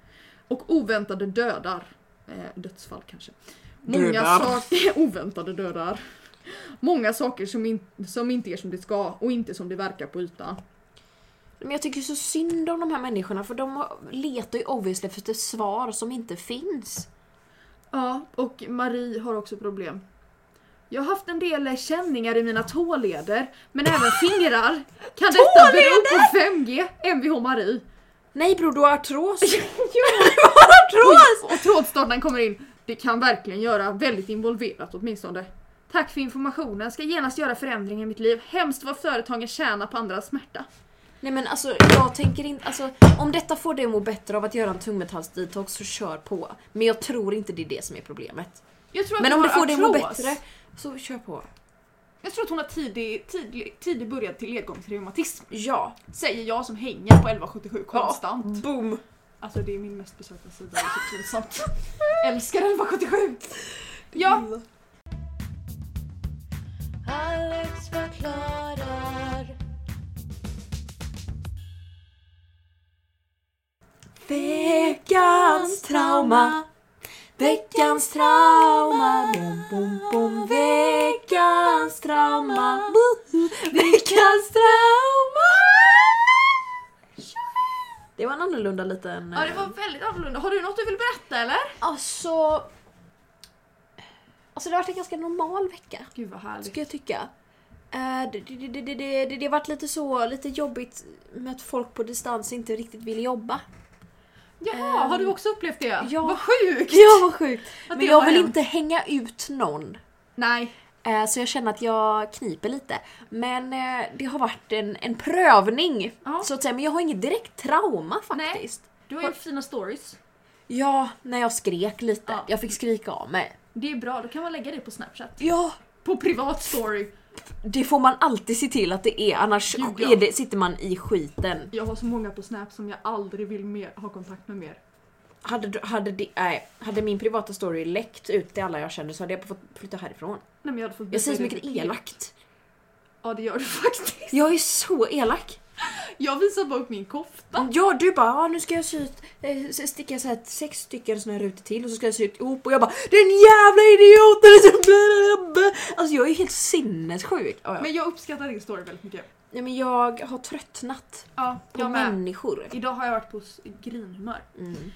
S2: Och oväntade dödar. Eh, dödsfall kanske. Många
S1: Dödar.
S2: saker... oväntade dödar. Många saker som, in, som inte är som det ska och inte som det verkar på ytan.
S1: Men jag tycker så synd om de här människorna för de har- letar ju obviously efter svar som inte finns.
S2: Ja, och Marie har också problem. Jag har haft en del känningar i mina tåleder, men även fingrar. Kan detta bero på 5G? Mvh Marie.
S1: Nej bror, du har artros!
S2: Och trådstartaren kommer in. Det kan verkligen göra väldigt involverat åtminstone. Tack för informationen, ska genast göra förändring i mitt liv. Hemskt vad företagen tjänar på andras smärta.
S1: Nej men alltså jag tänker inte, alltså om detta får dig att må bättre av att göra en tungmetallsdetox så kör på. Men jag tror inte det är det som är problemet.
S2: Jag tror att
S1: Men
S2: hon
S1: om det
S2: har
S1: får dig att må
S2: artros.
S1: bättre så kör på.
S2: Jag tror att hon har tidig, tidig, tidig början till ledgångsreumatism.
S1: Ja.
S2: Säger jag som hänger på 1177 konstant.
S1: Boom!
S2: Alltså det är min mest besökta sida, det är så pinsamt. Älskar 1177! Ja,
S3: Alex förklarar.
S1: Veckans trauma Veckans trauma bom, bom, bom. Veckans trauma Woho! Veckans trauma Det var en annorlunda liten... eh,
S2: ja det var väldigt annorlunda. Har du något du vill berätta eller?
S1: Alltså... Alltså det har varit en ganska normal vecka.
S2: Gud vad härligt.
S1: Ska jag tycka. Eh, det, det, det, det, det, det, det har varit lite så, lite jobbigt med att folk på distans inte riktigt vill jobba.
S2: Jaha, har du också upplevt det?
S1: ja.
S2: Vad sjukt!
S1: Ja vad sjukt!
S2: Att
S1: Men
S2: det
S1: jag
S2: har
S1: vill
S2: hänt.
S1: inte hänga ut någon.
S2: Nej.
S1: Eh, Så jag känner att jag kniper lite. Men eh, det har varit en, en prövning.
S2: Ja.
S1: Så att säga. Men jag har inget direkt trauma faktiskt.
S2: Du har gjort fina stories.
S1: Ja, när jag skrek lite.
S2: Ja.
S1: Jag fick skrika av mig.
S2: Det är bra, då kan man lägga det på snapchat.
S1: Ja,
S2: På privat story.
S1: det får man alltid se till att det är. Annars
S2: Gud, ja.
S1: är det, sitter man i skiten.
S2: Jag har så många på snap som jag aldrig vill mer, ha kontakt med mer.
S1: Hade, du- hade, de, nej, hade min privata story läckt ut till alla jag kände så hade jag fått flytta härifrån.
S2: Nej, men jag, hade fått
S1: Jag säger så
S2: byta
S1: mycket
S2: identitet.
S1: elakt.
S2: Ja det gör du faktiskt.
S1: Jag är så elak.
S2: Jag visar bara upp min kofta.
S1: Ja, du bara ah, nu ska jag sy ut, eh, sticka så här sex stycken såna här rutor till och så ska jag sy ut ihop och jag bara den jävla idioten! Alltså jag är ju helt sinnessjuk. Ja, ja. Men,
S2: Men jag uppskattar din story väldigt mycket.
S1: ja, men jag har tröttnat
S2: Ja,
S1: på
S2: jag med.
S1: människor.
S2: Idag har jag varit på s- grinhumör.
S1: Mm.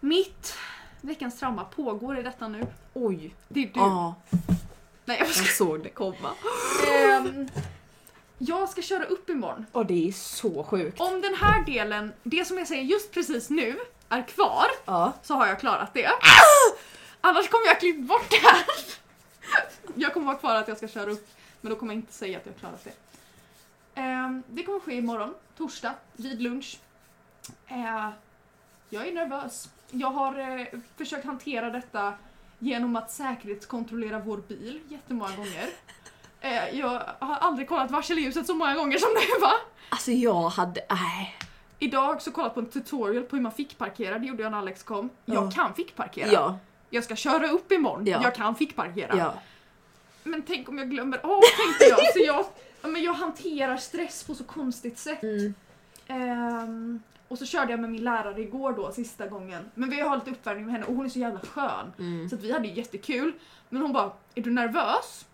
S2: Mitt veckans trauma pågår i detta nu.
S1: Oj,
S2: Det är du.
S1: ja
S2: Nej jag
S1: jag
S2: ska...
S1: såg det komma.
S2: Ehm, jag ska köra upp imorgon.
S1: Och det är så sjukt.
S2: Om den här delen, det som jag säger just precis nu, är kvar
S1: Ja.
S2: så har jag klarat det.
S1: Ah!
S2: Annars kommer jag klippt bort det här. Jag kommer vara kvar att jag ska köra upp men då kommer jag inte säga att jag har klarat det. Ehm, det kommer ske imorgon, torsdag, vid lunch. Eh, jag är nervös. Jag har eh, försökt hantera detta genom att säkerhetskontrollera vår bil jättemånga gånger. Eh, jag har aldrig kollat varselljuset så många gånger som nu va?
S1: Alltså jag hade, äh, nej.
S2: Idag har jag också kollat på en tutorial på hur man fick parkera, det gjorde jag när Alex kom. Jag
S1: Ja.
S2: kan fick parkera.
S1: Ja,
S2: Jag ska köra upp imorgon,
S1: Ja.
S2: jag kan fick parkera.
S1: ja.
S2: Men tänk om jag glömmer av tänkte jag. Så jag, ja, men jag hanterar stress på så konstigt sätt.
S1: Mm.
S2: Ehm, och så körde jag med min lärare igår då, sista gången. Men vi har lite uppvärmning med henne och hon är så jävla skön.
S1: Mm.
S2: Så att vi hade ju jättekul. Men hon bara, är du nervös?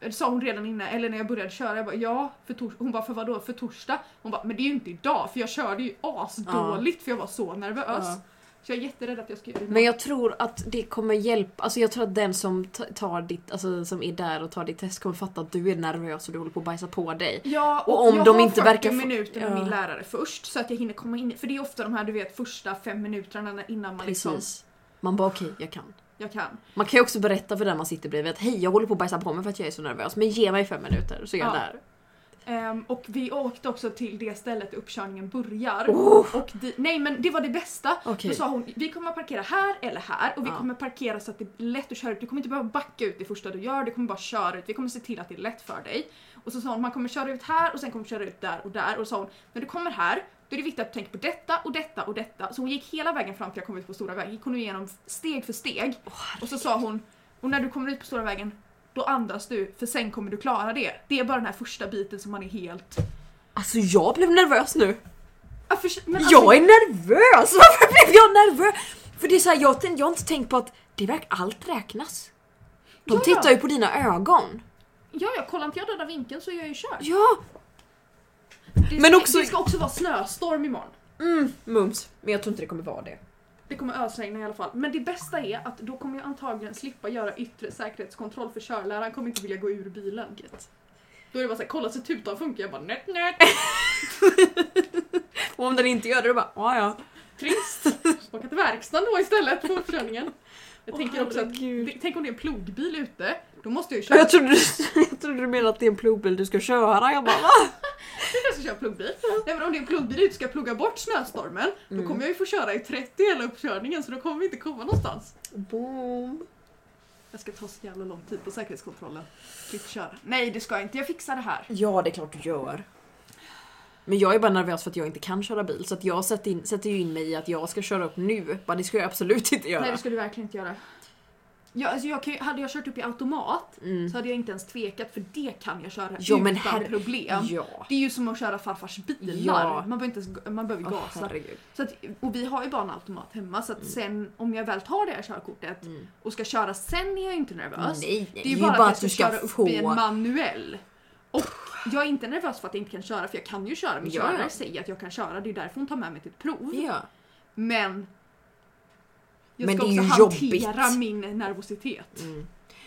S2: Det sa hon redan innan, eller när jag började köra. Jag bara, ja. För tors-" hon bara, för vadå? För torsdag? Hon bara, men det är ju inte idag. För jag körde ju asdåligt för jag var så nervös.
S1: Ja.
S2: Så jag är jätterädd att jag ska göra det
S1: Men jag tror att det kommer hjälpa, alltså jag tror att den som ta- tar ditt, alltså som är där och tar ditt test kommer fatta att du är nervös och du håller på att bajsa på dig.
S2: Ja, och,
S1: Och om
S2: jag
S1: de
S2: har
S1: inte
S2: 40
S1: verkar få-
S2: minuter med
S1: Ja.
S2: min lärare först så att jag hinner komma in. För det är ofta de här du vet första fem minuterna när- innan man liksom,
S1: Precis. Man bara okej, jag kan.
S2: jag kan.
S1: Man kan ju också berätta för den man sitter bredvid att hej jag håller på att bajsa på mig för att jag är så nervös men ge mig fem minuter så är jag
S2: Ja.
S1: där.
S2: Ehm, och vi åkte också till det stället där uppkörningen börjar.
S1: Oh!
S2: Och di- nej men det var det bästa.
S1: Okej.
S2: Då sa hon, vi kommer att parkera här eller här och vi
S1: Ja.
S2: kommer parkera så att det är lätt att köra ut. Du kommer inte behöva backa ut det första du gör, du kommer bara köra ut. Vi kommer se till att det är lätt för dig. Och så sa hon, man kommer köra ut här och sen kommer köra ut där och där. Och så sa hon, när du kommer här då är det viktigt att du tänker på detta och detta och detta. Så hon gick hela vägen fram till jag kom ut på stora vägen, gick hon igenom steg för steg. och så sa hon, och när du kommer ut på stora vägen då andas du för sen kommer du klara det. Det är bara den här första biten som man är helt...
S1: Alltså jag blev nervös nu.
S2: Ja, för- men alltså-
S1: Jag är nervös! Varför blev jag nervös? För det är så här, jag, har tänkt- jag har inte tänkt på att det verkar allt räknas. De
S2: Ja, ja.
S1: tittar ju på dina ögon.
S2: Ja, ja, kollar inte jag den där vinkeln så är jag ju körd.
S1: Ja!
S2: Det
S1: Men
S2: ska,
S1: också-
S2: det ska också vara snöstorm imorgon.
S1: Mm, mums. Men jag tror inte det kommer vara det.
S2: Det kommer ösregna i alla fall. Men det bästa är att då kommer jag antagligen slippa göra yttre säkerhetskontroll för körläraren kommer inte vilja gå ur bilen. Då är det bara såhär, kolla så tutan funkar. Jag bara nöt nöt.
S1: Och om den inte gör det då bara, ja ja.
S2: Trist. Åka till verkstaden då istället på uppkörningen. Jag
S1: Åh,
S2: tänker också att,
S1: herregud.
S2: tänk om det är en plogbil ute. Då måste jag ju köra,
S1: Jag trodde, du, jag trodde du menade att det är en plogbil du ska köra. Jag bara, va?
S2: jag ska köra plogbil. Nej men om det är en plogbil ute ska jag plugga bort snöstormen. Då
S1: Mm.
S2: kommer jag ju få köra i 30 hela uppkörningen så då kommer vi inte komma någonstans.
S1: Boom.
S2: Jag ska ta så jävla lång tid på säkerhetskontrollen. Klipp kör. Nej det ska jag inte, jag fixar det här.
S1: Ja, det är klart du gör. Men jag är bara nervös för att jag inte kan köra bil så att jag sätter, in, sätter ju in mig i att jag ska köra upp nu. Bara, det ska jag absolut inte göra.
S2: Nej det ska du verkligen inte göra. Ja, alltså jag kan ju, hade jag kört upp i automat
S1: Mm.
S2: så hade jag inte ens tvekat för det kan jag köra
S1: Ja,
S2: utan
S1: men herre-
S2: problem.
S1: Ja.
S2: Det är ju som att köra farfars bilar.
S1: Ja.
S2: Man behöver inte ens, man behöver
S1: Åh,
S2: gasa.
S1: herregud.
S2: Så att, och vi har ju bara en automat hemma så att sen om jag väl tar det här körkortet och ska köra sen är jag ju inte nervös.
S1: Nej,
S2: Det är ju bara, att jag ska, köra upp i en manuell. Och jag är inte nervös för att jag inte kan köra för jag kan ju köra. Min
S1: Ja, ja.
S2: körare säger att jag kan köra, det är därför hon tar med mig till ett prov.
S1: Ja.
S2: Men jag
S1: Men
S2: ska
S1: det är
S2: också
S1: ju
S2: hantera
S1: jobbigt.
S2: min nervositet.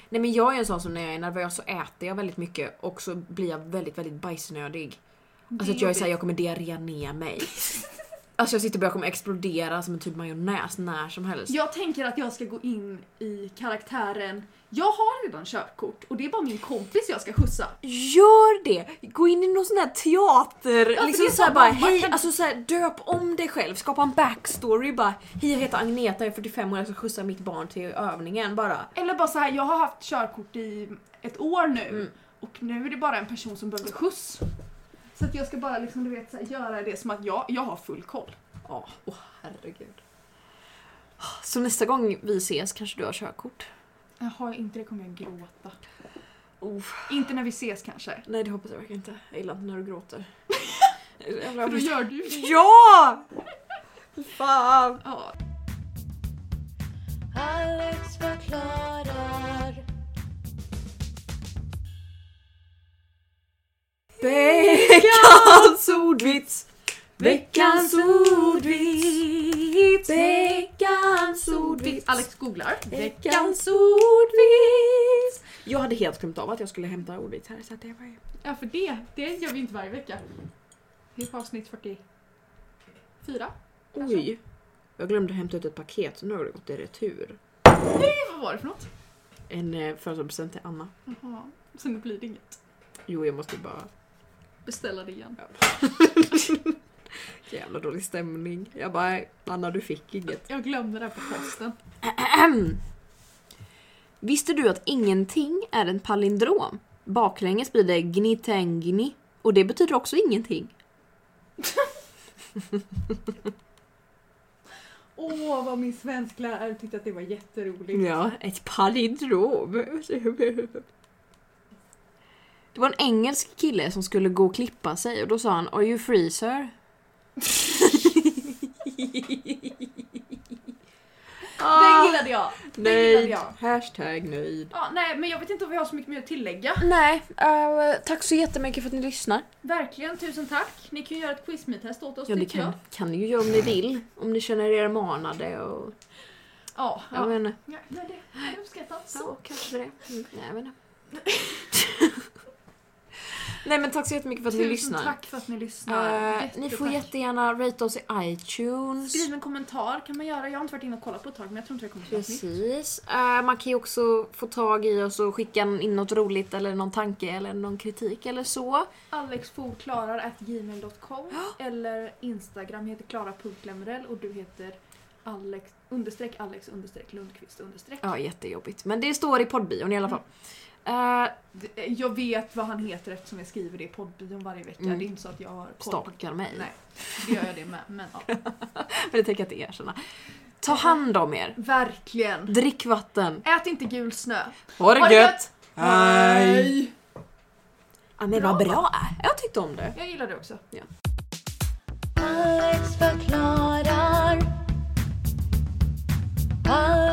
S1: Nej men jag är en sån som när jag är nervös så äter jag väldigt mycket och så blir jag väldigt väldigt bajsnödig. Alltså att jag är såhär, jag kommer diarré ner mig. alltså jag sitter och bara kommer explodera som en typ majonnäs när som helst.
S2: Jag tänker att jag ska gå in i karaktären jag har redan körkort och det är bara min kompis jag ska skjutsa.
S1: Gör det! Gå in i någon sån här teater,
S2: för
S1: liksom
S2: det är
S1: såhär
S2: bara,
S1: bara
S2: man
S1: hej,
S2: kan-
S1: alltså såhär döp om dig själv, skapa en backstory bara hej jag heter Agneta, jag är 45 år, jag ska skjutsa mitt barn till övningen bara.
S2: Eller bara så här, jag har haft körkort i ett år nu och nu är det bara en person som behöver skjuts. Så att jag ska bara liksom, du vet, så här, göra det som att jag, jag har full koll.
S1: Ja, åh herregud. Så nästa gång vi ses kanske du har körkort?
S2: Jag har inte det kommer jag gråta.
S1: Oh.
S2: Inte när vi ses kanske.
S1: Nej det hoppas jag verkligen inte. Jag gillar inte när du gråter. Jävla-
S2: För då gör du det.
S1: ja! Fan!
S2: Ja.
S3: Alex förklarar.
S1: Veckans ordvits! Veckans ordvits! Veckans ordvits!
S2: Alex googlar.
S1: Veckans ordvits! Jag hade helt glömt av att jag skulle hämta ordvits här så att det var ju...
S2: Ja för det, det gör vi inte varje vecka. Det är på avsnitt 44.
S1: Oj! Jag glömde hämta ut ett paket så nu har det gått i retur.
S2: Vad var det för något?
S1: En eh, födelsedagspresent till Anna.
S2: Jaha. Så nu blir det inget.
S1: Jo jag måste bara...
S2: Beställa det igen.
S1: Jävla dålig stämning. Jag bara Anna du fick inget.
S2: Jag glömde det här på posten.
S1: Visste du att ingenting är en palindrom? Baklänges blir det gnitengni och det betyder också ingenting.
S2: Åh, vad min svensklärare tyckte att det var jätteroligt.
S1: Ja, ett palindrom. Det var en engelsk kille som skulle gå och klippa sig och då sa han “Are you free sir?”
S2: Den
S1: ah,
S2: gillade jag! Den gillade
S1: nöjd.
S2: jag.
S1: Hashtag nöjd.
S2: Ja, nej, men jag vet inte om vi har så mycket mer att tillägga.
S1: Nej, eh, tack så jättemycket för att ni lyssnar.
S2: Verkligen, tusen tack. Ni kan ju göra ett quizmeet-test åt oss,
S1: Ja, det
S2: tycker
S1: kan,
S2: jag.
S1: kan ni ju göra om ni vill. Om ni känner er manade och... Ja.
S2: Ja,
S1: Jag
S2: ja.
S1: vet inte.
S2: ja men det är uppskattat.
S1: Ja, kanske det. Mm, nej, jag vet inte. Nej men tack så jättemycket för att ni
S2: Tusen
S1: lyssnar.
S2: tack för att ni lyssnar.
S1: Eh, ni får
S2: Jättetack.
S1: jättegärna rate oss i iTunes.
S2: Skriv en kommentar kan man göra. Jag har inte varit inne och kollat på ett tag men jag tror inte det kommer till något nytt.
S1: Precis. Eh, man kan ju också få tag i oss och skicka in något roligt eller någon tanke eller någon kritik eller så.
S2: alexfogklarar.gmail.com eller Instagram heter klara.lemrell och du heter Alex understreck Alex understreck Lundqvist understreck.
S1: Ja, jättejobbigt. Men det står i poddbion i alla fall. Eh,
S2: Det- eh, Jag vet vad han heter eftersom jag skriver det i poddbion varje vecka.
S1: Mm.
S2: Det är inte så att jag har koll. på-
S1: stalkar mig.
S2: Nej, det gör jag det med. Men ja.
S1: Men det tänker jag inte erkänna. Ta hand om er.
S2: Verkligen.
S1: Drick vatten.
S2: Ät inte gul snö.
S1: Ha
S2: Ha
S1: det
S2: det
S1: gött!
S2: gött!
S1: Ja, men vad bra! Jag tyckte om det.
S2: Jag gillar det också.
S3: Alex förklarar. Alex